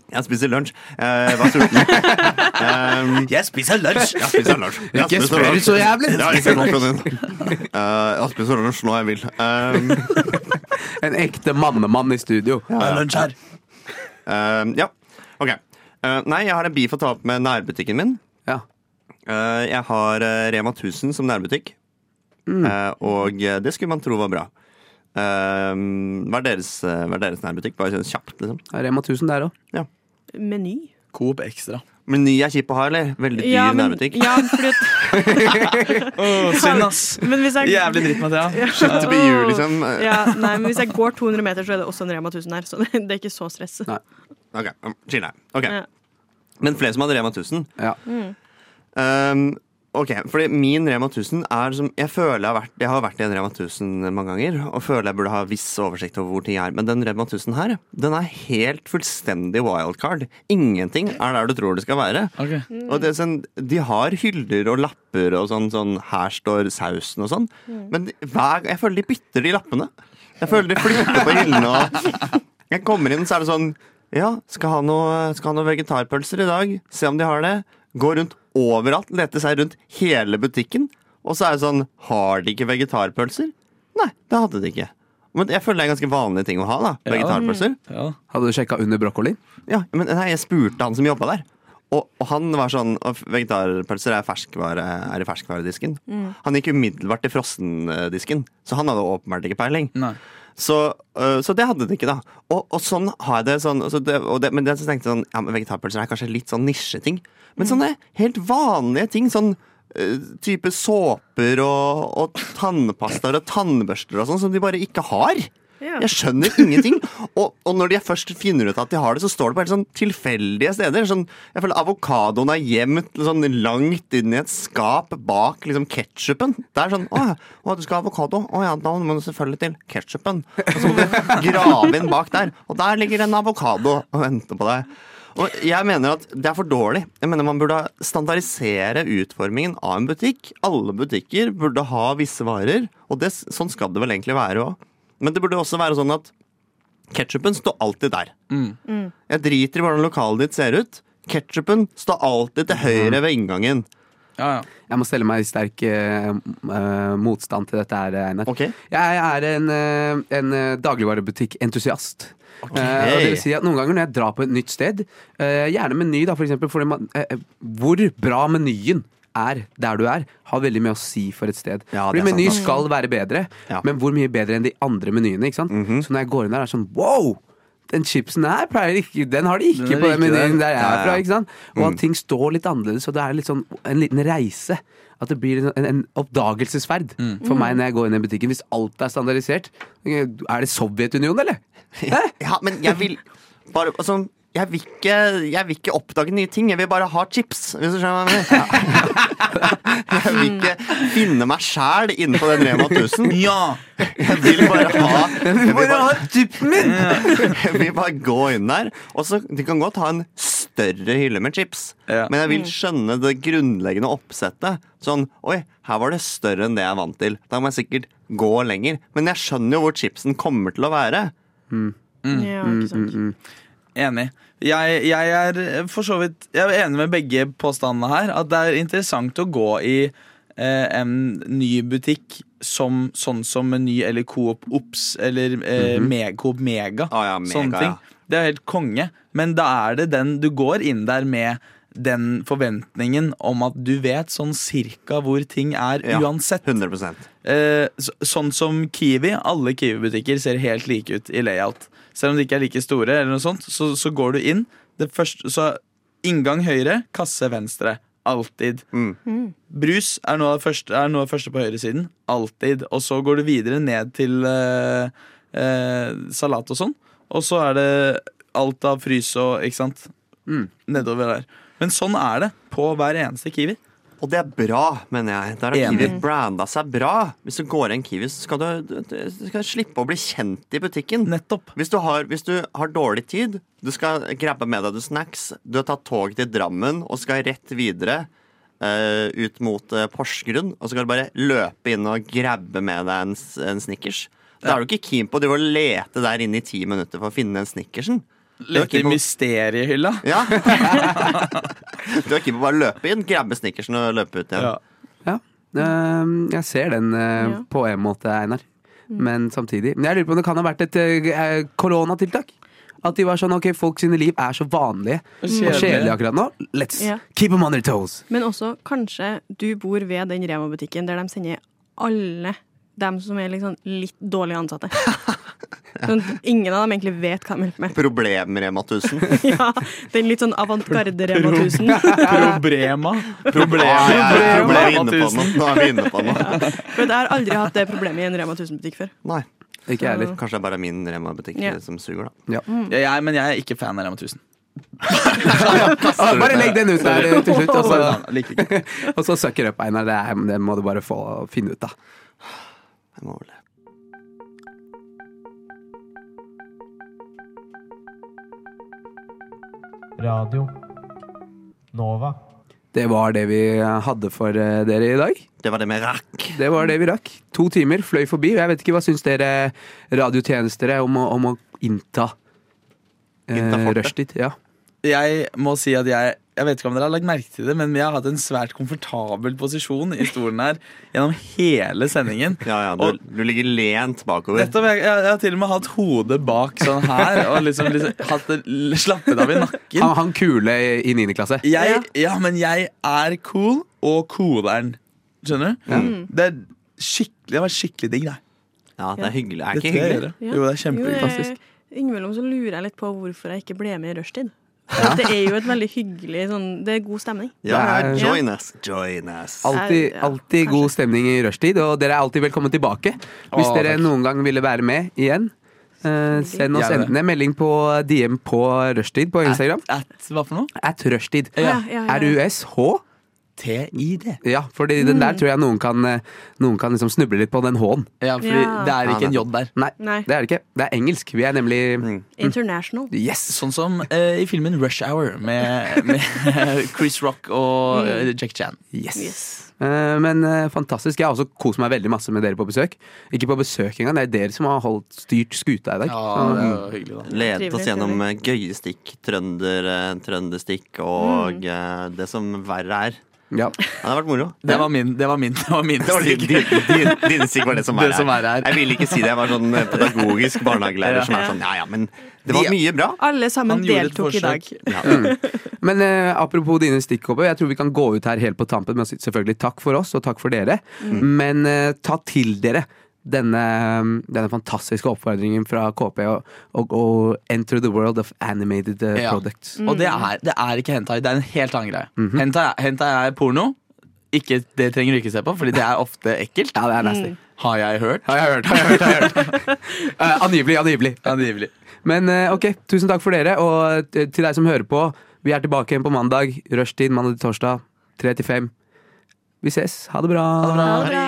Jeg spiser lunsj. Eh, hva tror du? um, Jeg spiser lunsj! jeg spiser lunsj. Jeg Ikke spiser spør lunsj. så jævlig. Ja, ikke nok om det. Eh, jeg spiser lunsj når jeg vil. Um, En ekte mannemann i studio. Det er lunsj her. um, ja, ok. Eh, nei, jeg har en beef å ta opp med nærbutikken min. Ja. Eh, jeg har eh, Rema 1000 som nærbutikk. Mm. Eh, og eh, det skulle man tro var bra. Eh, hva, er deres, eh, hva er deres nærbutikk? Bare sånn kjapt, liksom. Rema 1000 der òg. Meny. Coop Extra. Meny er kjip å ha, eller? Veldig dyr nærbutikk. ja, fordi at, Oh, synd, ass. men hvis jeg Jævlig dritt, Mathea. Slutt å bli jul, liksom. Eh, Ja, nei, men hvis jeg går 200 meter, så er det også en Rema 1000 her. Så det, det er ikke så stress. Nei. Ok, um, chill her. Ok. Ja. Men flere som hadde Rema 1000. Ja. Um, ok, fordi min Rema 1000 er som Jeg føler jeg har vært, jeg har vært i en Rema 1000 mange ganger og føler jeg burde ha viss oversikt over hvor ting er. Men den Rema 1000 her, den er helt fullstendig wildcard. Ingenting er der du tror det skal være. Ok. Og det er sånn, De har hyller og lapper og sånn, sånn her står sausen og sånn. Men de- hver, jeg føler de bytter de lappene. Jeg føler de flytter på hyllene og Jeg kommer inn, så er det sånn Ja, skal ha noe, skal ha noe vegetarpølser i dag. Se om de har det. Gå rundt overalt, lete seg rundt hele butikken. Og så er det sånn Har de ikke vegetarpølser? Nei, det hadde de ikke. Men jeg føler det er en ganske vanlig ting å ha, da. Ja. Vegetarpølser. Ja. Hadde du sjekka under brokkolien? Ja, men nei, jeg spurte han som jobba der. Og, og han var sånn og Vegetarpølser er, ferskvare, er i ferskvaredisken. Han gikk umiddelbart til frosendisken, så han hadde åpenbart ikke peiling. Nei. Så, øh, så det hadde det ikke, da. Og, og sånn har jeg det. Sånn, så det, og det men det, så tenkte jeg sånn, ja, men vegetarpølser er kanskje litt sånn nisjeting. Men sånne helt vanlige ting, sånn øh, type såper og, og tannpastaer og tannbørster og sånn, som de bare ikke har. Ja. Jeg skjønner ingenting. Og, og når de først finner ut at de har det, så står det på helt sånn tilfeldige steder. Sånn, jeg føler Avokadoen er gjemt sånn langt inn i et skap bak liksom ketsjupen. Det er sånn Å, ja, å, du skal ha avokado? Å ja, da må du selvfølgelig til ketsjupen. Og så må du grave inn bak der. Og der ligger en avokado og venter på deg. Og jeg mener at det er for dårlig. Jeg mener Man burde standardisere utformingen av en butikk. Alle butikker burde ha visse varer, og det, sånn skal det vel egentlig være òg. Men det burde også være sånn at ketsjupen står alltid der. Jeg driter i hvordan lokalet ditt ser ut. Ketsjupen står alltid til høyre ved inngangen. Ja, ja. Jeg må stelle meg i sterk eh, m- eh, motstand til dette her, Einar. Ok. Jeg er en, eh, en eh, dagligvarebutikkentusiast. Eh, og det vil si at Noen ganger når jeg drar på et nytt sted, eh, gjerne meny, da, for eksempel, fordi man, eh, eh, hvor bra menyen er der du er, har veldig mye å si for et sted. Ja, fordi det er sant, meny ass. skal være bedre, Ja. Mhm. men hvor mye bedre enn de andre menyene? Ikke sant? Så når jeg går inn der, er det sånn wow! Den chipsen her pleier ikke, den har de ikke Den er på den ikke der. menyen der jeg Ja, er ja. fra. Ikke sant? Og at ting står litt annerledes, og det er litt sånn en liten reise. At det blir en, en oppdagelsesferd for meg Mm. når jeg går inn i butikken. Hvis alt er standardisert. Er det Sovjetunionen, eller? Ja, men jeg vil bare altså, jeg vil, ikke, jeg vil ikke oppdage nye ting. Jeg vil bare ha chips, hvis du skjønner hva jeg mener. Jeg vil ikke finne meg sjæl inne på den Rema 1000. Ja! Jeg vil bare ha Jeg vil bare, typen min! jeg vil bare gå inn der. Og så, De kan godt ha en større hylle med chips, Ja. men jeg vil skjønne det grunnleggende oppsettet. Sånn Oi, her var det større enn det jeg er vant til. Da må jeg sikkert gå lenger. Men jeg skjønner jo hvor chipsen kommer til å være. Ja, ikke sant. Enig. Jeg, jeg er for så vidt Jeg er enig med begge påstandene her. At det er interessant å gå i eh, en ny butikk som, sånn som Meny eller Coop Ops eller eh, Me- Coop Mega. Mhm. Ah, ja, Mega, sånne ting. ja. Det er helt konge. Men da er det den du går inn der med den forventningen om at du vet sånn cirka hvor ting er Ja, uansett. 100 Eh, så, sånn som Kiwi. Alle Kiwi-butikker ser helt like ut i layout. Selv om de ikke er like store, eller noe sånt, så, så går du inn. Det første, så inngang høyre, kasse venstre. Alltid. Mm. Brus er noe, av det første, er noe av det første på høyresiden. Alltid. Og så går du videre ned til eh, eh, salat og sånn. Og så er det alt av frys og Ikke sant? Nedover der. Men sånn er det på hver eneste Kiwi. Og det er bra, mener jeg. Der har Enig. Kiwi branda seg bra. Hvis du går inn Kiwi, så skal du, du, du skal slippe å bli kjent i butikken. Nettopp. Hvis du, har, hvis du har dårlig tid, du skal grabbe med deg du snacks, du har tatt tog til Drammen og skal rett videre eh, ut mot eh, Porsgrunn, og så skal du bare løpe inn og grabbe med deg en, s- en Snickers. Da er du ikke keen på å drive og lete der inne i ti minutter for å finne den Snickersen. Du er Litt i keen på- mysteriehylla. Ja. Du er keen på å bare løpe inn, grabbe Snickersen og løpe ut igjen. Ja. Ja. Ehm, jeg ser den eh, Ja. Mm. på en måte, Einar. Men samtidig Men jeg lurer på om det kan ha vært et eh, koronatiltak? At de var sånn ok, folk sine liv er så vanlige Og og kjedelige kjedelige. akkurat nå. Let's Ja. keep them on their toes! Men også kanskje du bor ved den Rema-butikken der de sender alle dem som er liksom litt dårlig ansatte. Sånn, at ingen av dem egentlig vet hva de holder på med. Problemer, Rema 1000. Ja, den litt sånn avantgarde Rema 1000. Problema. Ah, ja, ja, ja. Problema. Nå er vi inne på noe. Nå er vi inne på noe. For jeg har aldri hatt det problemet i en Rema 1000-butikk før. Nei. Ikke jeg heller. Kanskje det er bare min Rema-butikk Ja. som suger, da. Ja. Ja, jeg, men jeg er ikke fan av Rema 1000. Ah, bare legg den ut der eh, til slutt, og så, Jeg liker ikke. og så sucker up, Einar. Det, er, det må du bare få finne ut, da. Jeg må overleve. Radio Nova. Det var det vi hadde for eh, dere i dag. Det var det med rack. Det var det vi rakk. To timer fløy forbi. og Jeg vet ikke, Hva syns dere radiotjenester eh, om, å- om å innta Innta eh, fortet. rushtid? Ja. Jeg må si at jeg jeg vet ikke om dere har lagt merke til det, men vi har hatt en svært komfortabel posisjon i stolen her gjennom hele sendingen. Ja, ja, du, Og- du ligger lent bakover. Nettopp, jeg, jeg, jeg har til og med hatt hodet bak sånn her og liksom, liksom hatt det l- slappet av i nakken. Han, han kule i niende klasse. Jeg, ja, men jeg er cool, og cooleren. Skjønner du? Mm. Det, er skikkelig, det var skikkelig digg, det. Ja, det er hyggelig. Er Det ikke tror jeg hyggelig. gjør det. Jo, det er kjempehyggelig. Jo, jeg- Innimellom så lurer jeg litt på hvorfor jeg ikke ble med i rushtid. For Det er jo et veldig hyggelig sånn Det er god stemning. Ja, Det er- join us. Join us. Altid, Ja, alltid kanskje. god stemning i rushtid, og dere er alltid velkommen tilbake. Hvis Å, dere takk. noen gang ville være med igjen, eh, send oss Gjerne. enten en melding på DM på rushtid på Instagram. At, hva for noe? At rushtid. Ja, ja, ja. R-U-S-H. TID. Ja, for den Mm. der tror jeg noen kan, eh, noen kan liksom snuble litt på den H-en. Ja, fordi Ja. det er ikke en J der. Nei, Nei. det er det ikke. Det er engelsk. Vi er nemlig Mm. Mm. International. Yes! Sånn som eh, i filmen Rush Hour med, med Chris Rock og eh, Jack Chan. Yes. Yes. Eh, men eh, fantastisk. Jeg har også kost meg veldig masse med dere på besøk. Ikke på besøk engang, det er dere som har holdt styrt skuta i dag. Ja, Så, det er jo hyggelig, da. Ledet Trivelig, oss gjennom eh, gøyestikk, trønder, eh, trønderstikk Mm. og eh, det som verre er. ja. Ja, det har vært moro. Det var min, det var min, det var min Det var din, stikk. din, din, din stikk var det som Det verre som er. er her. Jeg ville ikke si det. Jeg var sånn eh, pedagogisk barnehagelærer som er sånn ja ja, men det var Ja. mye bra. Alle sammen Han gjorde et deltok i dag. forsøk. Ja. Men eh, apropos dine stikkopper, jeg tror vi kan gå ut her helt på tampen med å si selvfølgelig takk for oss og takk for dere. Mm. Men eh, ta til dere denne, denne fantastiske oppfordringen fra KP og, og, og enter the world of animated eh, Ja. products. Og det er, det er ikke hentai. Det er en helt annen greie. Mhm. hentai, hentai er porno. Ikke, det trenger du ikke se på, Fordi det er ofte ekkelt. Mm. Ja, det er nasty. Har jeg hørt? Har jeg hørt, har jeg hørt. Har jeg hørt. Eh, angivelig, angivelig. Angivelig. Men eh, ok, tusen takk for dere, og t- til deg som hører på. Vi er tilbake igjen på mandag. Rushtid mandag til torsdag, 3 til 5. Vi ses. Ha det bra. Ha det bra.